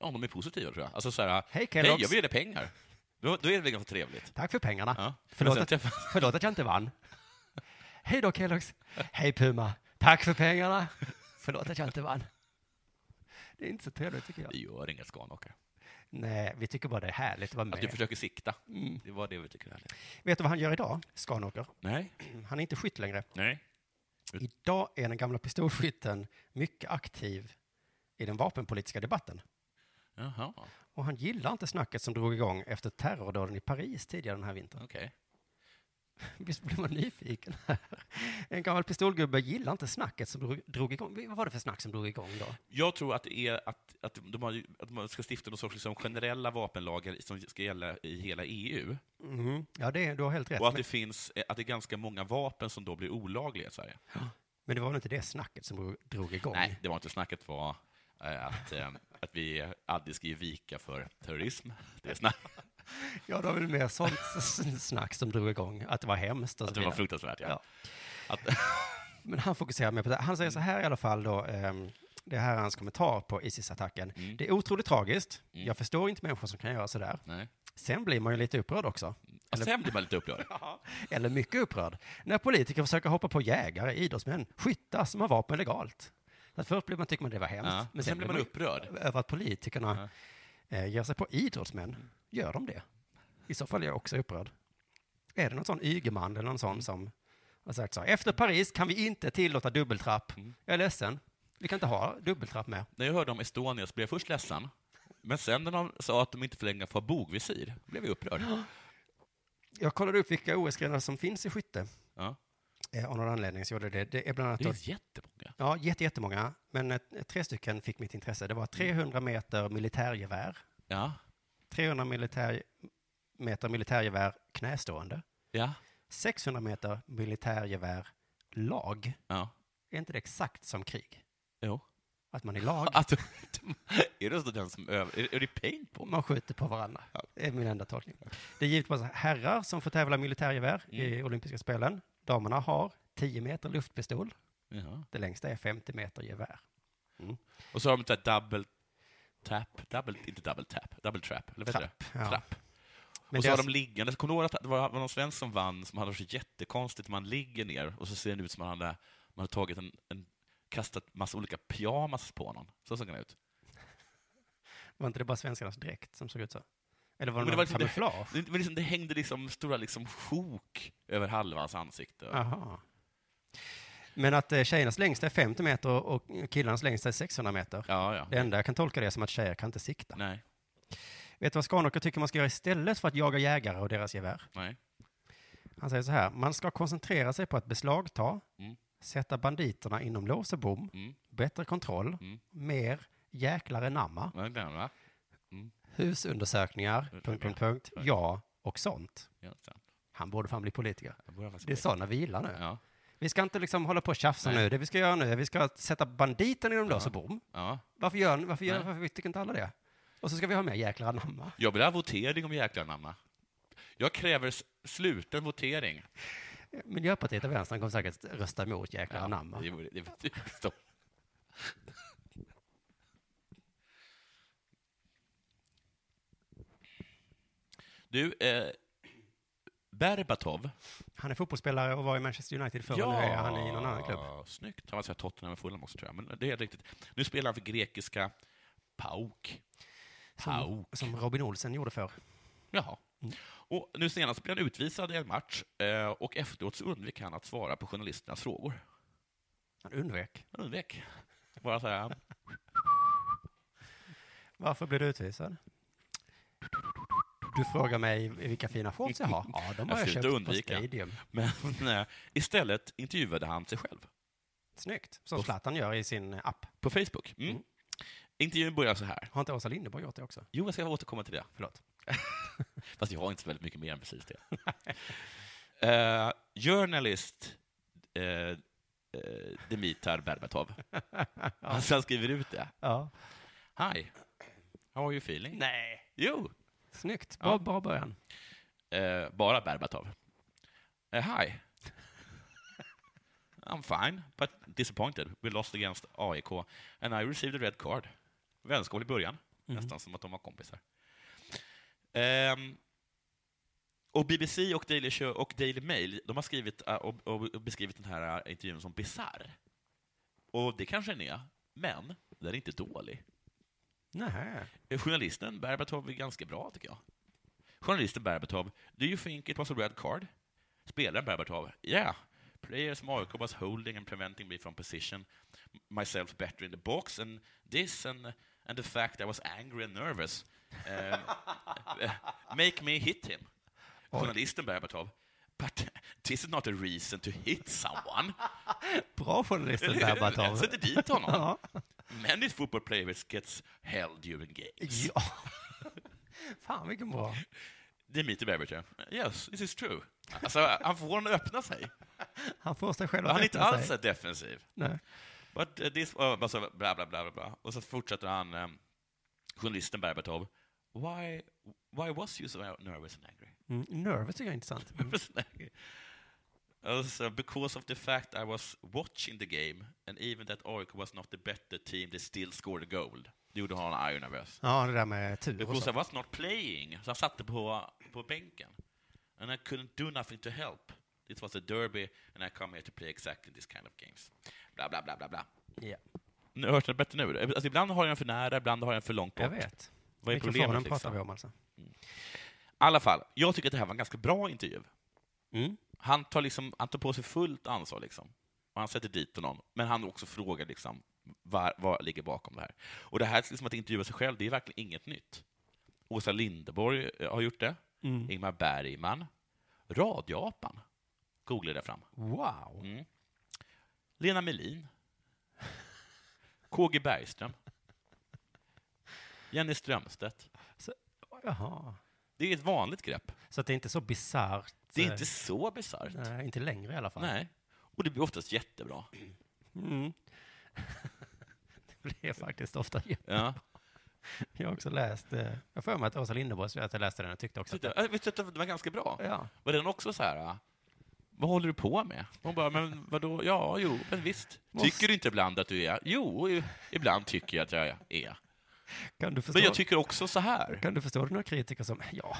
S8: Ja, de är positiva tror jag. Alltså så här,
S7: Hej,
S8: hej,
S7: Kellogg's."
S8: jag vill ge dig pengar. Då, då är det väl ganska trevligt.
S7: Tack för pengarna.
S8: Ja.
S7: Förlåt,
S8: Men
S7: att,
S8: sen
S7: förlåt att jag inte vann. Hej då Kellogg's. Hej Puma. Tack för pengarna. Förlåt att jag inte vann. Det är inte så trevligt tycker jag.
S8: Det gör inget skanåkare.
S7: Nej, vi tycker bara det är härligt att vara med.
S8: Att Alltså, du försöker sikta.
S7: Mm.
S8: Det var det vi tycker är härligt.
S7: Vet du vad han gör idag, Skanåker?
S8: Nej.
S7: Han är inte skytt längre.
S8: Nej.
S7: Idag är den gamla pistolskytten mycket aktiv i den vapenpolitiska debatten.
S8: Jaha,
S7: Och han gillar inte snacket som drog igång efter terrordåden i Paris tidigare den här vintern.
S8: okej.
S7: Visst blir man nyfiken här. En gammal pistolgubbe gillar inte snacket som drog- drog igång. Vad var det för snack som drog igång då?
S8: Jag tror att det är att, att, de har, att man ska stifta någon sorts liksom generella vapenlagar som ska gälla i hela EU.
S7: Mhm. Ja, det, du har helt rätt.
S8: Mm-hmm. Och att
S7: Men-
S8: det, finns, eh, att det är ganska många vapen som då blir olagliga i Sverige.
S7: Men det var nog inte det snacket som drog- drog igång?
S8: Nej, det var inte snacket var eh, att, eh, att vi aldrig ska ge vika för terrorism. Det är snack.
S7: Ja, det var väl mer sånt s- snack som drog igång, att det var hemskt och
S8: Att det
S7: så
S8: var
S7: vidare.
S8: fruktansvärt, ja. Att,
S7: Men han fokuserar mer på det. Han
S8: Mm.
S7: säger så här i alla fall då, ehm, det här är hans kommentar på ISIS-attacken.
S8: Mm.
S7: Det är otroligt tragiskt. Jag förstår inte människor som kan göra sådär.
S8: Nej. Alltså,
S7: Sen blir man ju lite upprörd också. Eller-
S8: sen blir man lite upprörd.
S7: Eller mycket upprörd. När politiker försöker hoppa på jägare, idrottsmän, skyttar som har vapen legalt. Så att först blir man, tycker man det var hemskt.
S8: Ja, sen blir man upprörd.
S7: Över att politikerna eh, ger sig på idrottsmän. Gör de det? I så fall är jag också upprörd. Är det någon sån Ygeman eller någon sån som har sagt så här, efter Paris kan vi inte tillåta dubbeltrapp.
S8: Mm.
S7: Jag är ledsen, vi kan inte ha dubbeltrapp mer.
S8: När jag hörde om Estonia så blev jag först ledsen, men sen när de sa att de inte får längre få ha bogvisir blev jag upprörd.
S7: Jag kollade upp vilka OS-grenar som finns i skytte.
S8: Ja.
S7: Eh, Av någon anledning så gjorde jag det. Det är bland annat...
S8: Det är
S7: då-
S8: jättemånga.
S7: Ja, jätte, jättemånga. Men eh, tre stycken fick mitt intresse. Det var 300 meter militärgevär.
S8: Ja.
S7: 300 militär, meter militärgevär knästående.
S8: Ja.
S7: 600 meter militärgevär lag.
S8: Ja.
S7: Är inte det exakt som krig?
S8: Jo.
S7: Att man i lag,
S8: Att, är det så den som över... Är, är det paintball?
S7: man skjuter på varandra. Det är min enda tolkning. Det är givetvis herrar som får tävla i militärgevär
S8: Mm.
S7: i olympiska spelen. Damerna har 10 meter luftpistol.
S8: Jaha.
S7: Det längsta är 50 meter gevär.
S8: Och så har de ett där double tap, double, inte double tap, double trap, eller vad heter det?
S7: ja.
S8: Trapp.
S7: Men alltså-
S8: och så har
S7: deras-
S8: de liggande, kommer du ihåg att det var var någon svensk som vann som hade så jättekonstigt, man ligger ner och så ser den ut som man hade, man hade tagit en, en, kastat massa olika pyjamas på någon. Så såg den ut.
S7: Var inte det bara svenskarnas dräkt som såg ut så? Eller var
S8: Men
S7: det
S8: det, var
S7: någon
S8: liksom,
S7: kamouflage?
S8: det, det, var liksom, det hängde liksom stora liksom sjok över halva hans ansikte.
S7: Aha. Men att eh, tjejernas längsta är 50 meter och killarnas längsta är 600 meter.
S8: Ja, ja.
S7: Det enda jag kan tolka det är som att tjejer kan inte sikta.
S8: Nej.
S7: Vet du vad Skanåker tycker man ska göra istället för att jaga jägare och deras gevär?
S8: Nej.
S7: Han säger så här, man ska koncentrera sig på att beslagta,
S8: Mm.
S7: sätta banditerna inom lås och bom,
S8: Mm.
S7: bättre kontroll, mer jäklar enamma,
S8: Vad är den, va? Mm.
S7: husundersökningar, punkt, punkt, punkt, ja och sånt.
S8: Ja, sant.
S7: Han borde fan bli politiker.
S8: borde faktiskt
S7: Det är
S8: bli.
S7: sådana vi gillar nu.
S8: Ja.
S7: Vi ska inte liksom hålla på och tjafsa nu. Det vi ska göra nu är vi ska sätta banditen inom lås och bom.
S8: Ja.
S7: Varför, gör, ni- varför, gör,
S8: Nej.
S7: varför tycker inte alla det? Och så ska vi ha med jäklar anamma.
S8: Jag vill ha votering om jäklar namna. Jag kräver s- sluten votering.
S7: Miljöpartiet och Vänstern kommer säkert rösta emot jäklar anamma.
S8: Det vore- det vore- det vore stopp. Du, eh, Berbatov.
S7: Han är fotbollsspelare och var i Manchester United förr. och Nu är han i någon annan klubb.
S8: Snyggt. Han var så här Tottenham och Fulham också, tror jag. Men det är helt riktigt. Nu spelar han för grekiska PAOK.
S7: Som,
S8: PAOK.
S7: som Robin Olsen gjorde förr.
S8: Jaha. Och nu senast blev han utvisad i en match eh, och efteråt så undvek han att svara på journalisternas frågor.
S7: Han undvek.
S8: Han undvek. Bara så här.
S7: Varför blev du utvisad? Du frågar mig vilka fina shorts jag har. Ja, de har jag,
S8: försökte
S7: köpt på Stadium.
S8: Men eh, istället intervjuade han sig själv
S7: Snyggt. Som Zlatan gör i sin app.
S8: på Facebook. Mm. Intervjun börjar så här.
S7: Har inte Åsa Linderborg gjort det också?
S8: Jo, jag ska återkomma till det.
S7: Förlåt.
S8: Fast jag har inte så väldigt mycket mer än precis det. Eh, journalist eh, eh, Dimitar Berbatov. Han så han skriver ut det.
S7: Ja.
S8: Hi, how are you feeling?
S7: Nej.
S8: Jo,
S7: Snyggt. Bra,
S8: Ja.
S7: bra början.
S8: eh, bara Berbatov. Eh, hi. I'm fine, but disappointed. We lost against AIK and I received a red card. Vänskap i början, nästan som att de var kompisar. Ehm, och BBC och Daily Show och Daily Mail de har skrivit eh, och, och och beskrivit den här eh, intervjun som bisarr. Och det kanske den är, men den är inte dålig.
S7: Nej.
S8: Eh, Journalisten Berbatov är ganska bra, tycker jag. Journalisten Berbatov, do you think it was a red card? Spelaren Berbatov, yeah. Players som AIK was holding and preventing me from position, myself better in the box, and this and, and the fact I was angry and nervous. uh, Um, eh, make me hit him. Journalisten Berbatov, But this is not a reason to hit someone.
S7: Bra journalisten Berbatov.
S8: Sätter dit honom. Many football players gets held during games.
S7: Ja. Fan, vilken bra.
S8: Dimitri Berbatov. Yes, this is true. Alltså, han får honom att öppna sig.
S7: Han får sig själv att
S8: Han är inte
S7: öppna
S8: alls
S7: sig.
S8: så defensiv.
S7: Nej.
S8: But uh, this, uh, alltså, bla, bla, bla, bla, bla. Och så fortsätter han, um, journalisten Berbatov. Why, why was you so nervous and angry?
S7: Mm, nervous tycker jag är intressant. Mm.
S8: Also, because of the fact I was watching the game and even that AIK was not the better team, they still scored a goal. Det gjorde honom arg och nervös.
S7: Ja, det där med tur och
S8: Because I
S7: så.
S8: was not playing, så han satte på, på bänken. And I couldn't do nothing to help. It was a derby and I come here to play exactly this kind of games. Bla, bla, bla, bla, bla.
S7: Ja.
S8: Nu hörs det bättre nu? Alltså, ibland har jag den för nära, ibland har jag den för långt bort.
S7: Jag vet.
S8: Vad är
S7: Mikrofonen
S8: problemet?
S7: pratar
S8: Liksom?
S7: vi om alltså.
S8: I alla fall, jag tycker att det här var en ganska bra intervju. Mm. Han, tar liksom, han tar på sig fullt ansvar, liksom. och han sätter dit honom, men han också frågar liksom, vad, vad ligger bakom det här. Och det här liksom att intervjua sig själv, det är verkligen inget nytt. Åsa Linderborg eh, har gjort det,
S7: Mm.
S8: Ingmar Bergman, Radioapan, googla där fram.
S7: Wow.
S8: Mm. Lena Melin, KG Bergström, Jenny Strömstedt.
S7: Jaha.
S8: Det är ett vanligt grepp.
S7: Så att det är inte så bisarrt.
S8: Det är
S7: eh,
S8: inte så bisarrt.
S7: Nej, inte längre i alla fall.
S8: Nej. Och det blir oftast jättebra.
S7: Mm. det är faktiskt ofta
S8: Ja.
S7: Jag har också läst, eh, jag har för mig att Åsa Linderborg, att jag läste den och tyckte också att
S8: Titta, jag visste att det var ganska bra.
S7: Ja.
S8: Var den också så här, ah, vad håller du på med? Hon bara, men vadå, ja, jo, men visst. Tycker du inte ibland att du är? Jo, i- ibland tycker jag att jag är.
S7: Kan du förstå?
S8: Men jag tycker också så här.
S7: Kan du förstå det några kritiker som, ja,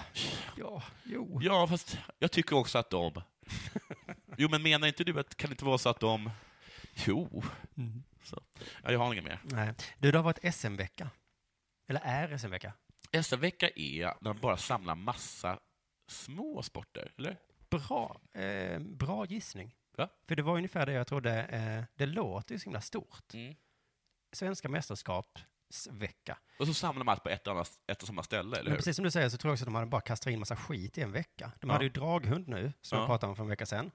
S7: ja, jo.
S8: Ja, fast jag tycker också att de... Jo, men menar inte du att kan det inte vara så att de... Jo. Så. Ja, jag har inget mer.
S7: Nej. Du, det har varit SM-vecka. Eller är SM-vecka.
S8: SM-vecka är när de bara samlar massa små sporter, eller?
S7: Bra, eh, bra gissning.
S8: Ja.
S7: För det var ungefär det jag trodde, eh, det låter ju så himla stort.
S8: Mm.
S7: Svenska mästerskapsvecka.
S8: Och så samlar man allt på ett och, annat, ett och samma ställe, eller
S7: Men
S8: hur?
S7: precis som du säger så tror jag också att de hade bara kastat in massa skit i en vecka. De
S8: Ja.
S7: hade ju draghund nu, som
S8: Ja.
S7: vi pratade om för en vecka sedan.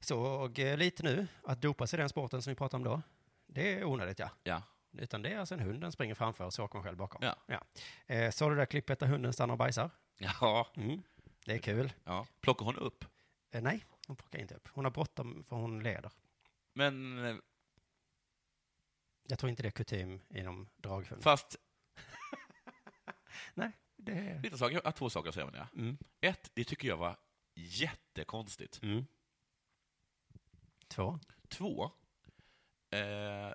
S7: Såg eh, lite nu, att dopa sig i den sporten som vi pratade om då, det är onödigt ja.
S8: Ja.
S7: Utan det är alltså en hund, den springer framför och så åker man själv bakom.
S8: Ja.
S7: Eh, såg du det där klippet där hunden stannar och bajsar? Mm.
S8: Ja.
S7: Det är kul.
S8: ja. Plockar hon upp?
S7: Eh, nej, hon plockar inte upp. Hon har bråttom för hon leder.
S8: Men eh,
S7: Jag tror inte det är kutym inom draghund.
S8: fast
S7: Nej, det är...
S8: lite saker, jag har två saker att säga om det.
S7: Mm.
S8: Ett, det tycker jag var jättekonstigt.
S7: Mm. Två.
S8: Två, eh,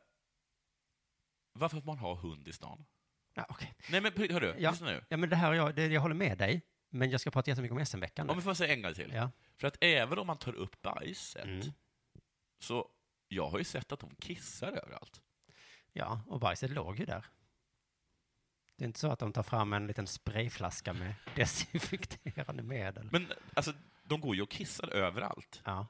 S8: varför får man ha hund i stan?
S7: Ja, okej.
S8: Nej men på- hörru,
S7: Ja.
S8: lyssna nu.
S7: ja, men det här, har jag, det, jag håller med dig, men jag ska prata jättemycket om SM-veckan nu.
S8: Om vi får säga en gång till.
S7: Ja.
S8: För att även om man tar upp bajset,
S7: Mm.
S8: så jag har ju sett att de kissar överallt.
S7: Ja, och bajset låg ju där. Det är inte så att de tar fram en liten sprayflaska med desinfekterande medel.
S8: Men alltså, de går ju och kissar överallt.
S7: Ja.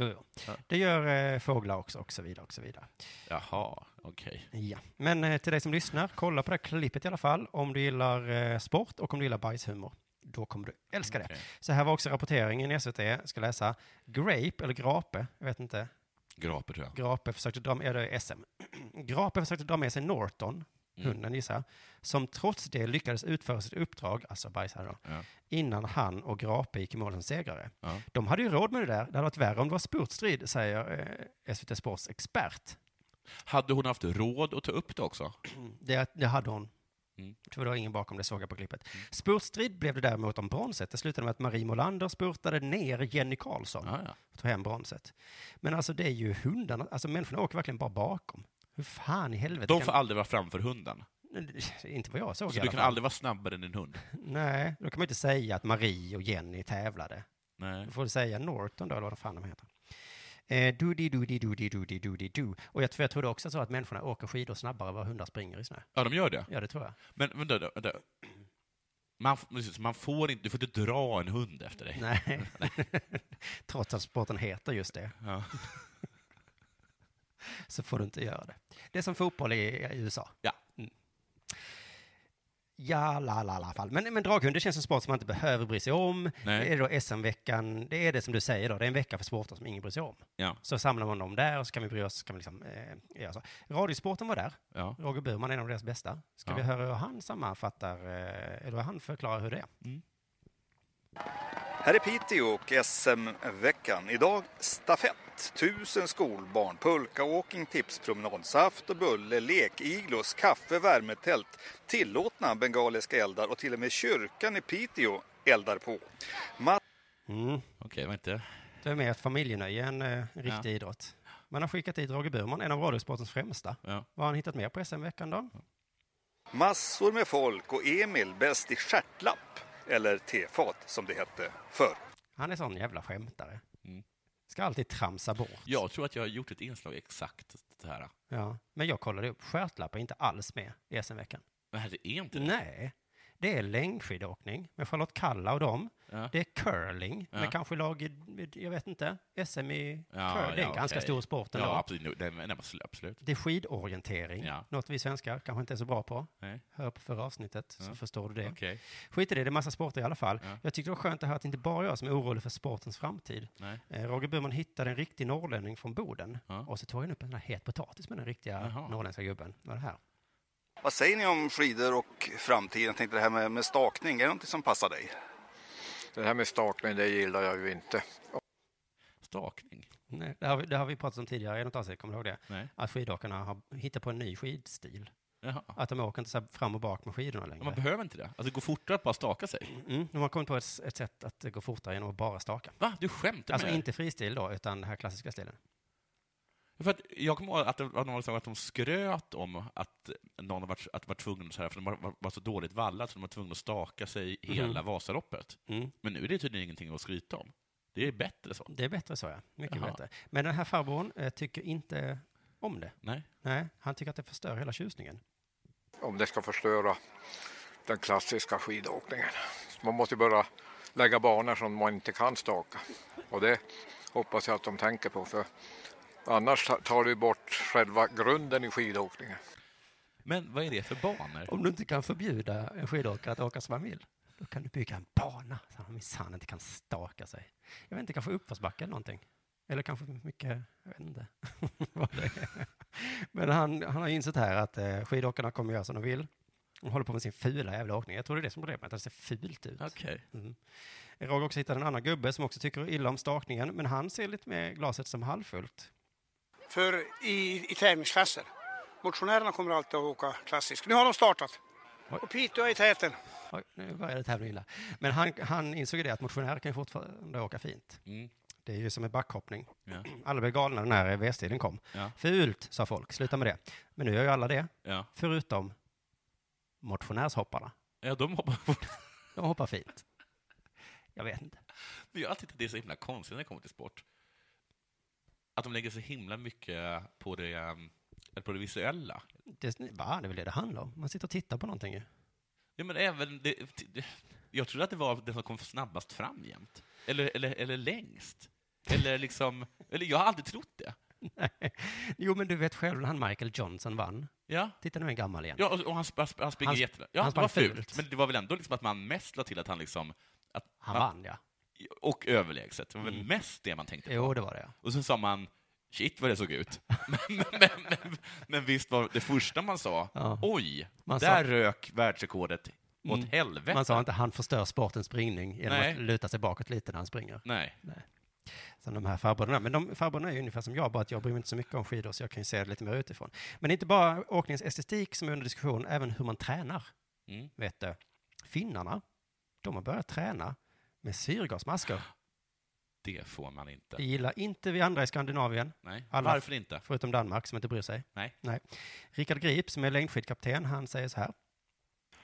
S7: Jo, jo.
S8: Ja.
S7: Det gör eh, fåglar också, och så vidare, och så vidare.
S8: Jaha, okej.
S7: Ja. Men eh, till dig som lyssnar, kolla på det här klippet i alla fall. Om du gillar eh, sport och om du gillar bajshumor, då kommer du älska det.
S8: Okej.
S7: Så här var också rapporteringen i SVT. Jag ska läsa. Grape, eller Grape, jag vet inte.
S8: Graper tror jag.
S7: Grape försökte dra med, ja, det är SM. Grape försökte dra med sig Norton,
S8: Mm.
S7: hunden gissar jag, som trots det lyckades utföra sitt uppdrag, alltså bajsade då,
S8: Ja.
S7: innan han och Grape gick i mål som segrare.
S8: Ja.
S7: De hade ju råd med det där, det hade varit värre om det var spurtstrid, säger eh, SVT Sports expert.
S8: Hade hon haft råd att ta upp det också?
S7: Det, det hade hon.
S8: Mm.
S7: För det var ingen bakom det, såg jag på klippet. Spurtstrid blev det däremot om bronset. Det slutade med att Marie Molander spurtade ner Jenny Karlsson
S8: Ja, ja.
S7: och tog hem bronset. Men alltså det är ju hundarna, alltså människorna åker verkligen bara bakom. Hur fan i helvete
S8: De får aldrig vara framför hunden.
S7: Inte vad jag såg
S8: Så
S7: i
S8: du
S7: alla
S8: kan
S7: fall.
S8: aldrig vara snabbare än en hund?
S7: Nej, då kan man ju inte säga att Marie och Jenny tävlade.
S8: Nej.
S7: Då får du säga Norton då, eller vad fan de heter. Eh, doody, doody, doody, doody, doody, do. Och jag, för jag tror det också så att människorna åker skidor snabbare än vad hundar springer i snö.
S8: Ja, de gör det.
S7: Ja, det tror jag.
S8: Men vänta, vänta, vänta. Man, f- precis, man får inte, du får inte dra en hund efter dig.
S7: Nej. Trots att sporten heter just det,
S8: Ja.
S7: så får du inte göra det. Det är som fotboll i i USA.
S8: Ja.
S7: Mm. Ja, la, la, la, fall. Men, men draghund, det känns som sport som man inte behöver bry sig om.
S8: Nej.
S7: Det är då SM-veckan, det är det som du säger då, det är en vecka för sporter som ingen bryr sig om.
S8: Ja.
S7: Så samlar man dem där och så kan vi bry oss, kan vi liksom, eh, göra så. Radiosporten var där, Roger Burman är en av deras bästa. Ska
S8: Ja.
S7: vi höra hur han sammanfattar, eh, eller hur han förklarar hur det är?
S11: Här är Piteå och SM-veckan. Idag stafett, tusen skolbarn, pulkaåking, tipspromenad, saft och bulle, lek, iglos, kaffe, värmetält, tillåtna bengaliska eldar och till och med kyrkan i Piteå eldar på. Matt
S7: Mm.
S8: Okej, det var inte...
S7: Det är mer ett familjenöje än eh, en riktig
S8: Ja.
S7: idrott. Man har skickat dit Roger Burman, en av radiosportens främsta. Vad har han hittat mer på SM-veckan då?
S11: Massor med folk och Emil bäst i stjärtlapp, eller tefat som det hette förr.
S7: Han är sån jävla skämtare.
S8: Mm.
S7: Ska alltid tramsa bort.
S8: Jag tror att jag har gjort ett inslag exakt det här.
S7: Ja. Men jag kollade upp, stjärtlapp är inte alls med i SM-veckan.
S8: Men det är inte det.
S7: Nej, det är längdskidåkning med Charlotte Kalla och dem.
S8: Ja.
S7: Det är curling
S8: Ja.
S7: med kanske lag, i- jag vet inte, SM i
S8: Ja,
S7: curling. Det är en
S8: ja,
S7: ganska
S8: okej.
S7: stor sport ändå.
S8: Ja, absolut. Det är, nej, absolut- absolut.
S7: Det är skidorientering,
S8: Ja.
S7: något vi svenskar kanske inte är så bra på.
S8: Nej.
S7: Hör på förra avsnittet så
S8: Ja.
S7: förstår du det.
S8: Okej.
S7: Skit i det, det är massa sporter i alla fall.
S8: Ja.
S7: Jag tyckte det var skönt att höra att det inte bara är jag som är orolig för sportens framtid.
S8: Nej.
S7: Eh, Roger Burman hittade en riktig norrlänning från Boden
S8: Ja.
S7: och så tog han upp en sån här het potatis med den riktiga norrländska gubben. Vad är det här?
S11: Vad säger ni om skidor och framtiden? Jag tänkte det här med, med stakning, är det någonting som passar dig?
S12: Det här med stakning, det gillar jag ju inte.
S8: Stakning?
S7: Nej, det, har vi, det har vi pratat om tidigare i något avsnitt, kommer du ihåg det?
S8: Nej.
S7: Att skidåkarna har hittat på en ny skidstil.
S8: Jaha.
S7: Att de åker inte så här fram och bak med skidorna längre.
S8: Man behöver inte det. Alltså, det går fortare att bara staka sig.
S7: Mm, de har kommit på ett, ett sätt att gå fortare genom att bara staka.
S8: Va? Du skämtar
S7: Alltså
S8: med mig?
S7: inte fristil då, utan den här klassiska stilen.
S8: För att jag kommer ihåg att det var någon som att de skröt om att någon var, att var tvungen så här, för de var, var, var så dåligt vallad så de var tvungna att staka sig hela
S7: Mhm.
S8: Vasaloppet. Men nu är det tydligen ingenting att skryta om. Det är bättre så.
S7: Mm, Det är bättre så, ja. Mycket
S8: Jaha.
S7: bättre. Men den här farbrorn eh, tycker inte om det.
S8: Nej.
S7: Nej, han tycker att det förstör hela tjusningen.
S12: Om det ska förstöra den klassiska skidåkningen. Så man måste ju börja lägga banor som man inte kan staka. Och det hoppas jag att de tänker på. För annars tar det ju bort själva grunden i skidåkningen.
S8: Men vad är det för banor?
S7: Om du inte kan förbjuda en skidåkare att åka som han vill, då kan du bygga en bana så han minsann inte kan staka sig. Jag vet inte, kanske uppförsbacke eller någonting. Eller kanske mycket, jag vet inte vad det är. Men han, han har ju insett här att eh, skidåkarna kommer göra som de vill. De håller på med sin fula jävla åkning. Jag tror det är det som är problemet, att det ser fult ut.
S8: Okej.
S7: Mm. Jag har också hittat en annan gubbe som också tycker illa om stakningen, men han ser lite mer glaset som halvfullt.
S13: för i, i tävlingsklasser. Motionärerna kommer alltid att åka klassiskt. Nu har de startat. Och Piteå är i täten.
S7: Oj, nu började tävlingen illa. Men han, han insåg ju det att motionärer kan ju fortfarande åka fint.
S8: Mm.
S7: Det är ju som en backhoppning.
S8: Ja.
S7: Alla blev galna när V-stilen kom.
S8: Ja.
S7: Fult, sa folk. Sluta med det. Men nu gör ju alla det.
S8: Ja.
S7: Förutom motionärshopparna.
S8: Ja, de hoppar
S7: De hoppar fint. Jag vet inte.
S8: Men jag har alltid tyckt det är så himla konstigt när det kommer till sport. Att de lägger så himla mycket på det, ehm, eller på det visuella.
S7: Det, va, det är väl det det handlar om. Man sitter och tittar på någonting ju.
S8: Ja, men även det, det, jag trodde att det var den som kom snabbast fram jämt. Eller, eller, eller längst. Eller liksom, eller jag har aldrig trott det.
S7: Jo, men du vet själv när han Michael Johnson vann.
S8: Ja.
S7: Titta, nu är en gammal igen.
S8: Ja, och, och han, sp- han, sp- han springer
S7: Han sp-
S8: jättelångt. Ja,
S7: han
S8: det var
S7: sprang
S8: fult.
S7: fult.
S8: Men det var väl ändå liksom att man mest la till att han liksom... Att
S7: Han vann, ja.
S8: Och överlägset. Det var väl
S7: Mm.
S8: mest det man tänkte på.
S7: Jo, det var det, ja.
S8: Och sen sa man, shit vad det såg ut. men, men, men, men visst var det första man sa,
S7: Ja.
S8: oj,
S7: Man sa-
S8: där rök världsrekordet åt
S7: Mm.
S8: helvete.
S7: Man sa inte han förstör sportens springning genom
S8: Nej.
S7: att luta sig bakåt lite när han springer.
S8: Nej.
S7: Som de här farbröderna. Men de farbröderna är ju ungefär som jag, bara att jag bryr mig inte så mycket om skidor så jag kan ju se det lite mer utifrån. Men det är inte bara åkningens estetik som är under diskussion, även hur man tränar.
S8: Mm.
S7: Vet du, finnarna, de har börjat träna med syrgasmasker.
S8: Det får man inte.
S7: Det gillar inte vi andra i Skandinavien.
S8: Nej. Varför inte?
S7: Förutom Danmark som inte bryr sig.
S8: Nej.
S7: Nej. Rickard Grip som är längdskidkapten, han säger så här.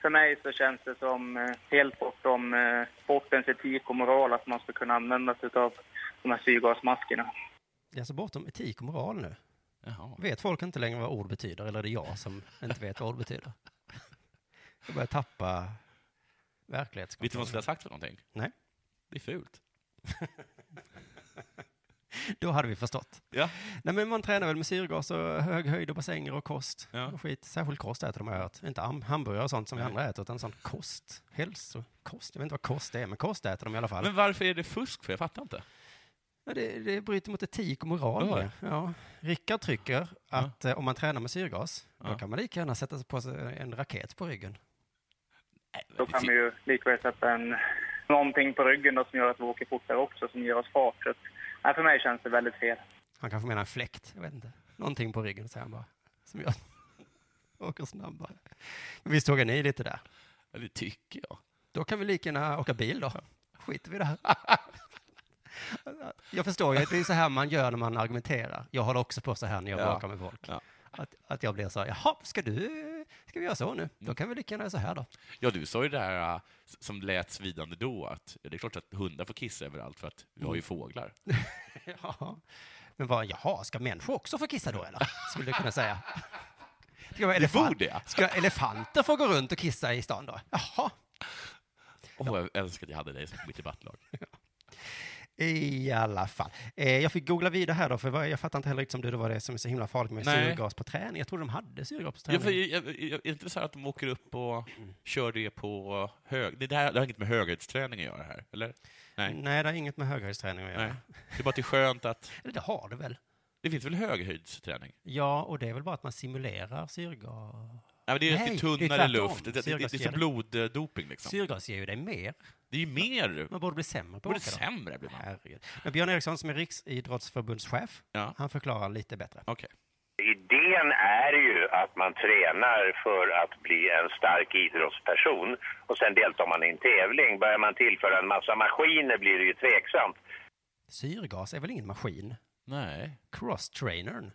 S14: För mig så känns det som eh, helt bortom eh, sportens etik och moral att man ska kunna använda sig av de här syrgasmaskerna.
S7: Det är alltså bortom etik och moral nu. Vet folk inte längre vad ord betyder, eller är det jag som inte vet vad ord betyder? Jag börjar tappa
S8: Vet du vad
S7: verklighetskontrollen.
S8: man skulle ha sagt för någonting?
S7: Nej.
S8: Det är fult.
S7: Då hade vi förstått.
S8: Ja.
S7: Nej, men man tränar väl med syrgas och hög höjd och bassänger och kost. Och skit. Särskilt kost äter de har jag hört. Inte ham- hamburgare och sånt som vi andra äter, utan sånt kost. Hälsokost. Jag vet inte vad kost är, men kost äter de i alla fall.
S8: Men varför är det fusk? För jag fattar inte.
S7: Ja, det, det bryter mot etik och moral.
S8: Ja.
S7: Ja. Ja. Rickard trycker att eh, om man tränar med syrgas, då kan man lika gärna sätta sig på sig en raket på ryggen.
S14: Då kan vi ju likväl sätta en, någonting på ryggen då, som gör att vi åker fortare också, som ger oss fart. Så, att- nej, för mig känns det väldigt fel.
S7: Han kanske menar en fläkt, jag vet inte. Någonting på ryggen säger han bara, som gör att man åker snabbare. Men visst tågar ni lite där?
S8: Ja, det tycker jag.
S7: Då kan vi lika gärna åka bil då. Skiter vi i det här. Jag förstår ju att det är så här man gör när man argumenterar. Jag håller också på så här när jag
S8: Ja.
S7: bråkar med folk. Att, att jag blir så här, jaha, ska du, ska vi göra så nu? Då kan vi lika gärna göra så här då.
S8: Ja, du sa ju det här äh, s- som lät svidande då, att ja, det är klart att hundar får kissa överallt för att vi har ju
S7: Mm.
S8: fåglar.
S7: Ja. Men vad, jaha, ska människor också få kissa då eller? Skulle du kunna säga. Ska, vara elefant-
S8: borde jag.
S7: ska elefanter få gå runt och kissa i stan då? Jaha.
S8: Åh, jag önskar att jag hade dig som mitt debattlag.
S7: I alla fall. Eh, jag fick googla vidare här då, för vad- jag fattar inte heller riktigt som du, det var det som är så himla farligt med
S8: Nej.
S7: syrgas på träning. Jag trodde de hade syrgas på
S8: Ja,
S7: träning.
S8: för, jag, jag, jag, är det inte så här att de åker upp och
S7: Mm.
S8: kör det på hög... Det, där, det har inget med höghöjdsträning att göra här, eller? Nej.
S7: Nej, det har inget med höghöjdsträning att göra.
S8: Nej. Det är bara att det är skönt att...
S7: Eller det har det väl?
S8: Det finns väl höghöjdsträning?
S7: Ja, och det är väl bara att man simulerar syrgas.
S8: Nej, men det är
S7: Nej,
S8: lite
S7: det är
S8: tunnare
S7: tvärtom.
S8: luft. Det, det, det, det är
S7: Syrgas ger
S8: som
S7: det.
S8: bloddoping, liksom.
S7: Syrgas ger ju dig mer.
S8: Det är ju mer...
S7: Man borde bli sämre på
S8: Borde
S7: att åka då.
S8: sämre blir man.
S7: Herregud. Men Björn Eriksson som är Riksidrottsförbundschef, han förklarar lite bättre.
S8: Okej.
S15: Idén är ju att man tränar för att bli en stark idrottsperson och sen deltar man i en tävling. Börjar man tillföra en massa maskiner blir det ju tveksamt.
S7: Syrgas är väl ingen maskin?
S8: Nej.
S7: Cross-trainern,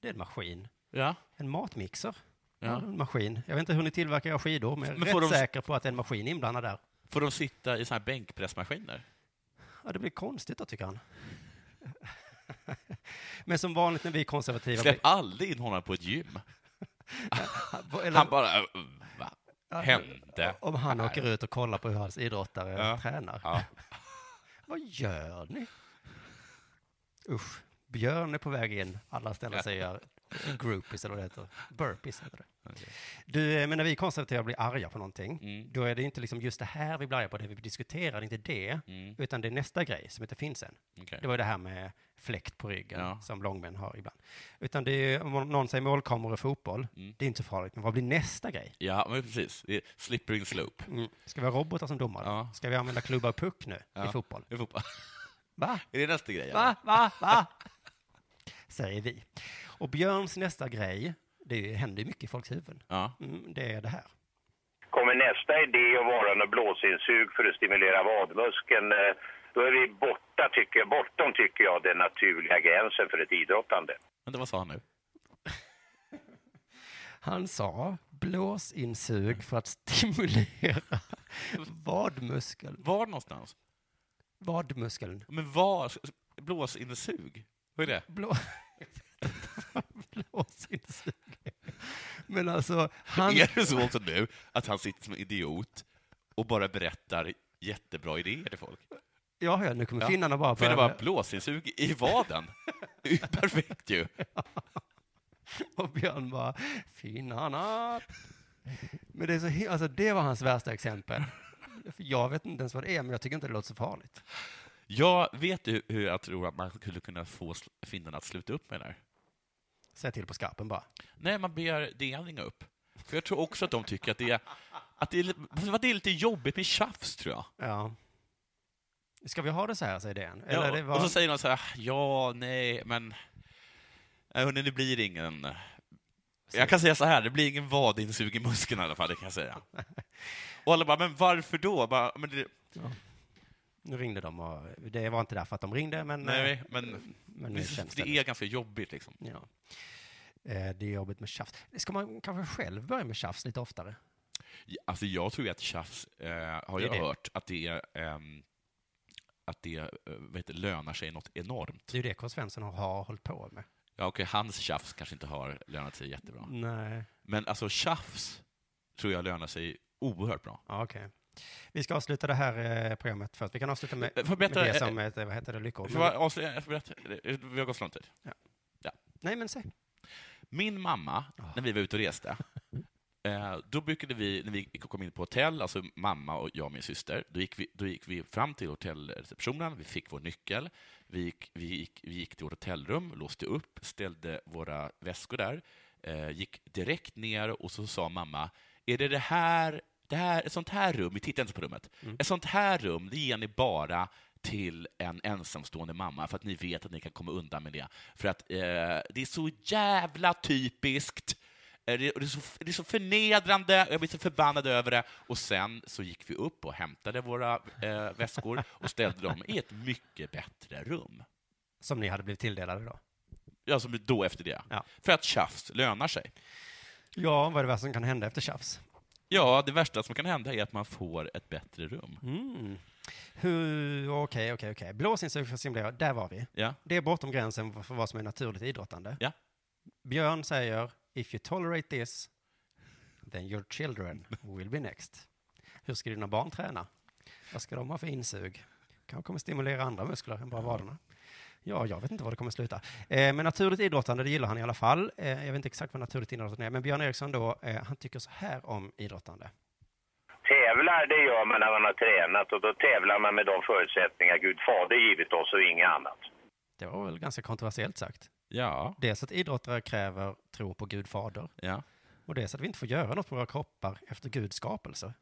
S7: det är en maskin.
S8: Ja.
S7: En matmixer,
S8: Ja.
S7: ja. en maskin. Jag vet inte hur ni tillverkar era skidor, men jag är
S8: Men får
S7: rätt
S8: de-
S7: säker på att det är en maskin inblandad där.
S8: Får de sitta i såna här bänkpressmaskiner?
S7: Ja, det blir konstigt då, tycker han. men som vanligt när vi konservativa...
S8: Släpp aldrig in honom på ett gym.
S7: eller-
S8: Han bara... "Äh, Va?
S7: Ja,
S8: Hände?
S7: Om han
S8: här?"
S7: åker ut och kollar på hur hans idrottare
S8: Ja.
S7: tränar.
S8: Ja.
S7: Vad gör ni? Usch, Björn är på väg in. Alla ställer sig och gör groupies eller vad det heter. Burpees heter det. Du, eh, men när vi konservativa blir arga på någonting,
S8: Mm.
S7: då är det inte liksom just det här vi blir arga på, det vi diskuterar, det är inte det, utan det är nästa grej som inte finns än.
S8: Mm. Okej.
S7: Det var ju det här med fläkt på ryggen
S8: Ja.
S7: som långmän har ibland. Utan det är ju, om någon säger målkameror och fotboll,
S8: Mm.
S7: det är inte så farligt, men vad blir nästa grej?
S8: Ja, men precis. Det är slippery slope.
S7: Mm. Ska vi ha robotar som domare? Ska vi använda klubba och puck nu
S8: Ja.
S7: i fotboll?
S8: I fotboll.
S7: Va?
S8: Är det nästa grej?
S7: Va? Va? Va? Säger vi. Och Björns nästa grej, det händer ju mycket i folks huvuden.
S8: Ja.
S7: Mm, det är det här.
S15: Kommer nästa idé att vara något blåsinsug för att stimulera vadmuskeln, eh, då är vi borta, tycker jag, bortom tycker jag, den naturliga gränsen för ett idrottande.
S8: Vänta, vad sa han nu?
S7: Han sa blåsinsug för att stimulera vadmuskeln.
S8: Var någonstans?
S7: Vadmuskeln.
S8: Men var? Blåsinsug? Vad är det?
S7: Blå... blåsinsug. Men alltså, han...
S8: Är det så också nu att han sitter som en idiot och bara berättar jättebra idéer till folk?
S7: Ja, ja, nu kommer finnarna bara
S8: Finnarna
S7: börja-
S8: bara blåsinsug i vaden. Det är ju perfekt ju.
S7: Och Björn bara, finnarna. Men det, är så, hi- alltså, det var hans värsta exempel. För Jag vet inte ens vad det är, men jag tycker inte det låter så farligt.
S8: Jag vet ju hur jag tror att man skulle kunna få sl- finnarna att sluta upp med det här.
S7: Säg till på skarpen bara.
S8: Nej, man ber DN ringa upp. För jag tror också att de tycker att det är, att det är, li- att det är lite jobbigt med tjafs, tror jag.
S7: Ja. Ska vi ha det så här, säger DN? Eller
S8: Ja,
S7: det var...
S8: Och så säger de så här, ja, nej, men... Nej, Hörni, det blir ingen... Jag kan säga så här, det blir ingen vadinsug i muskeln i alla fall, det kan jag säga. Och alla bara, men varför då? Bara, men det,
S7: Nu ringde de och det var inte därför att de ringde, men...
S8: nej,
S7: eh,
S8: men,
S7: men nu
S8: det,
S7: känns det.
S8: det är ganska jobbigt liksom.
S7: Ja. Eh, Det är jobbigt med tjafs. Ska man kanske själv börja med tjafs lite oftare?
S8: Alltså jag tror ju att tjafs, eh, har
S7: Det är
S8: jag
S7: det.
S8: hört, att det, är, ehm, att det eh, vad heter, det, lönar sig något enormt.
S7: Det är ju det K. Svensson har- har hållit på med.
S8: Ja, okej, hans tjafs kanske inte har lönat sig jättebra.
S7: Nej.
S8: Men alltså tjafs tror jag lönar sig oerhört bra.
S7: Ja, okej. Vi ska avsluta det här eh, programmet först. Vi kan avsluta med,
S8: Får jag
S7: med
S8: berätta-
S7: det som, eh, vad heter det, lyckor.
S8: Får jag avslöja- jag får berätta? Vi har gått för lång tid.
S7: Ja.
S8: Ja.
S7: Nej, men säg.
S8: Min mamma, när vi var ute och reste, eh, då brukade vi, när vi kom in på hotell, alltså mamma och jag och min syster, då gick vi, då gick vi fram till hotellreceptionen, vi fick vår nyckel, vi gick, vi gick, vi gick till vårt hotellrum, låste upp, ställde våra väskor där, eh, gick direkt ner och så sa mamma, är det det här, det här, ett sånt här rum, vi tittar inte på rummet, ett sånt här rum, det ger ni bara till en ensamstående mamma för att ni vet att ni kan komma undan med det. För att eh, det är så jävla typiskt. Eh, Det och det är, så, det är så förnedrande, och jag blir så förbannad över det. Och sen så gick vi upp och hämtade våra eh, väskor och ställde dem i ett mycket bättre rum.
S7: Som ni hade blivit tilldelade då.
S8: Ja, som då efter det. För att tjafs lönar sig.
S7: Ja, vad är det värsta som kan hända efter tjafs?
S8: Ja, det värsta som kan hända är att man får ett bättre rum.
S7: Mm. Hur, okej, okej, okej. Blåsinsug för att simulera, där var vi.
S8: Ja.
S7: Det är bortom gränsen för vad som är naturligt idrottande.
S8: Ja.
S7: Björn säger, if you tolerate this, then your children will be next. Hur ska dina barn träna? Vad ska de ha för insug? Kanske kommer stimulera andra muskler än bara vaderna. Ja, jag vet inte var det kommer sluta. Eh, men naturligt idrottande, det gillar han i alla fall. Eh, jag vet inte exakt vad naturligt idrottande är, men Björn Eriksson då, eh, han tycker så här om idrottande.
S15: Tävlar, det gör man när man har tränat och då tävlar man med de förutsättningar Gud Fader givit oss och inget annat.
S7: Det var väl ganska kontroversiellt sagt.
S8: Ja.
S7: Dels att idrottare kräver tro på Gud fader.
S8: Ja.
S7: Och dels att vi inte får göra något på våra kroppar efter Guds skapelse.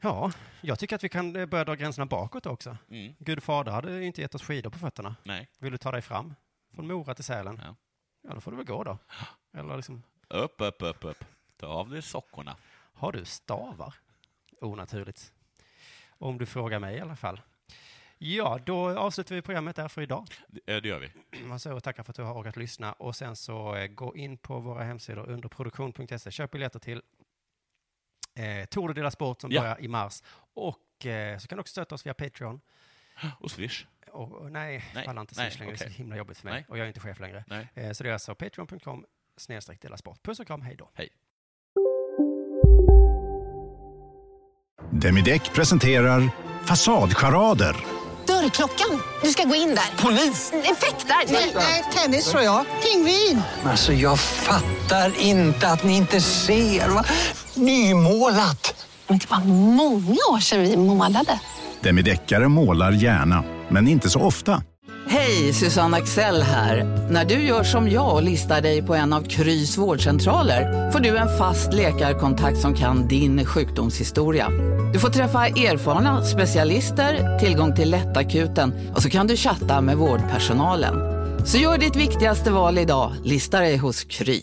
S7: Ja, jag tycker att vi kan eh, börja dra gränserna bakåt också.
S8: Mm.
S7: Gud fader hade ju inte gett oss skidor på fötterna.
S8: Nej.
S7: Vill du ta dig fram från Mora till Sälen?
S8: Ja.
S7: ja, då får du väl gå då. Eller liksom,
S8: Upp, upp, upp, upp. Ta av dig sockorna.
S7: har du stavar? Onaturligt. Om du frågar mig i alla fall. Ja, då avslutar vi programmet där för idag.
S8: Eh, Det gör vi.
S7: Man så tackar för att du har orkat lyssna och sen så eh, gå in på våra hemsidor under produktion.se. Köp E. biljetter till eh, Tour de Dela Sport som
S8: Ja.
S7: börjar i mars. Och eh, så kan du också stötta oss via Patreon.
S8: Och Swish.
S7: Och, och nej,
S8: Nej,
S7: falla inte
S8: nej,
S7: Swish längre. Det är
S8: okej.
S7: så himla jobbigt för mig.
S8: Nej.
S7: Och jag är inte chef längre.
S8: Nej.
S7: Eh, så det är alltså patreon.com snedstreck dela sport. Puss och kram, hej då.
S8: Hej.
S16: Demideck presenterar Fasadcharader.
S17: Dörrklockan. Du ska gå in där. Polis? Effektar? Nej, nej, tennis tror jag. Pingvin.
S18: Alltså jag fattar inte att ni inte ser. Va? Nymålat.
S19: Men det var många år sedan vi målade.
S16: Demideckare målar gärna, men inte så ofta.
S20: Hej, Susanne Axel här. När du gör som jag och listar dig på en av Krys vårdcentraler får du en fast läkarkontakt som kan din sjukdomshistoria. Du får träffa erfarna specialister, tillgång till lättakuten och så kan du chatta med vårdpersonalen. Så gör ditt viktigaste val idag, lista dig hos Kry.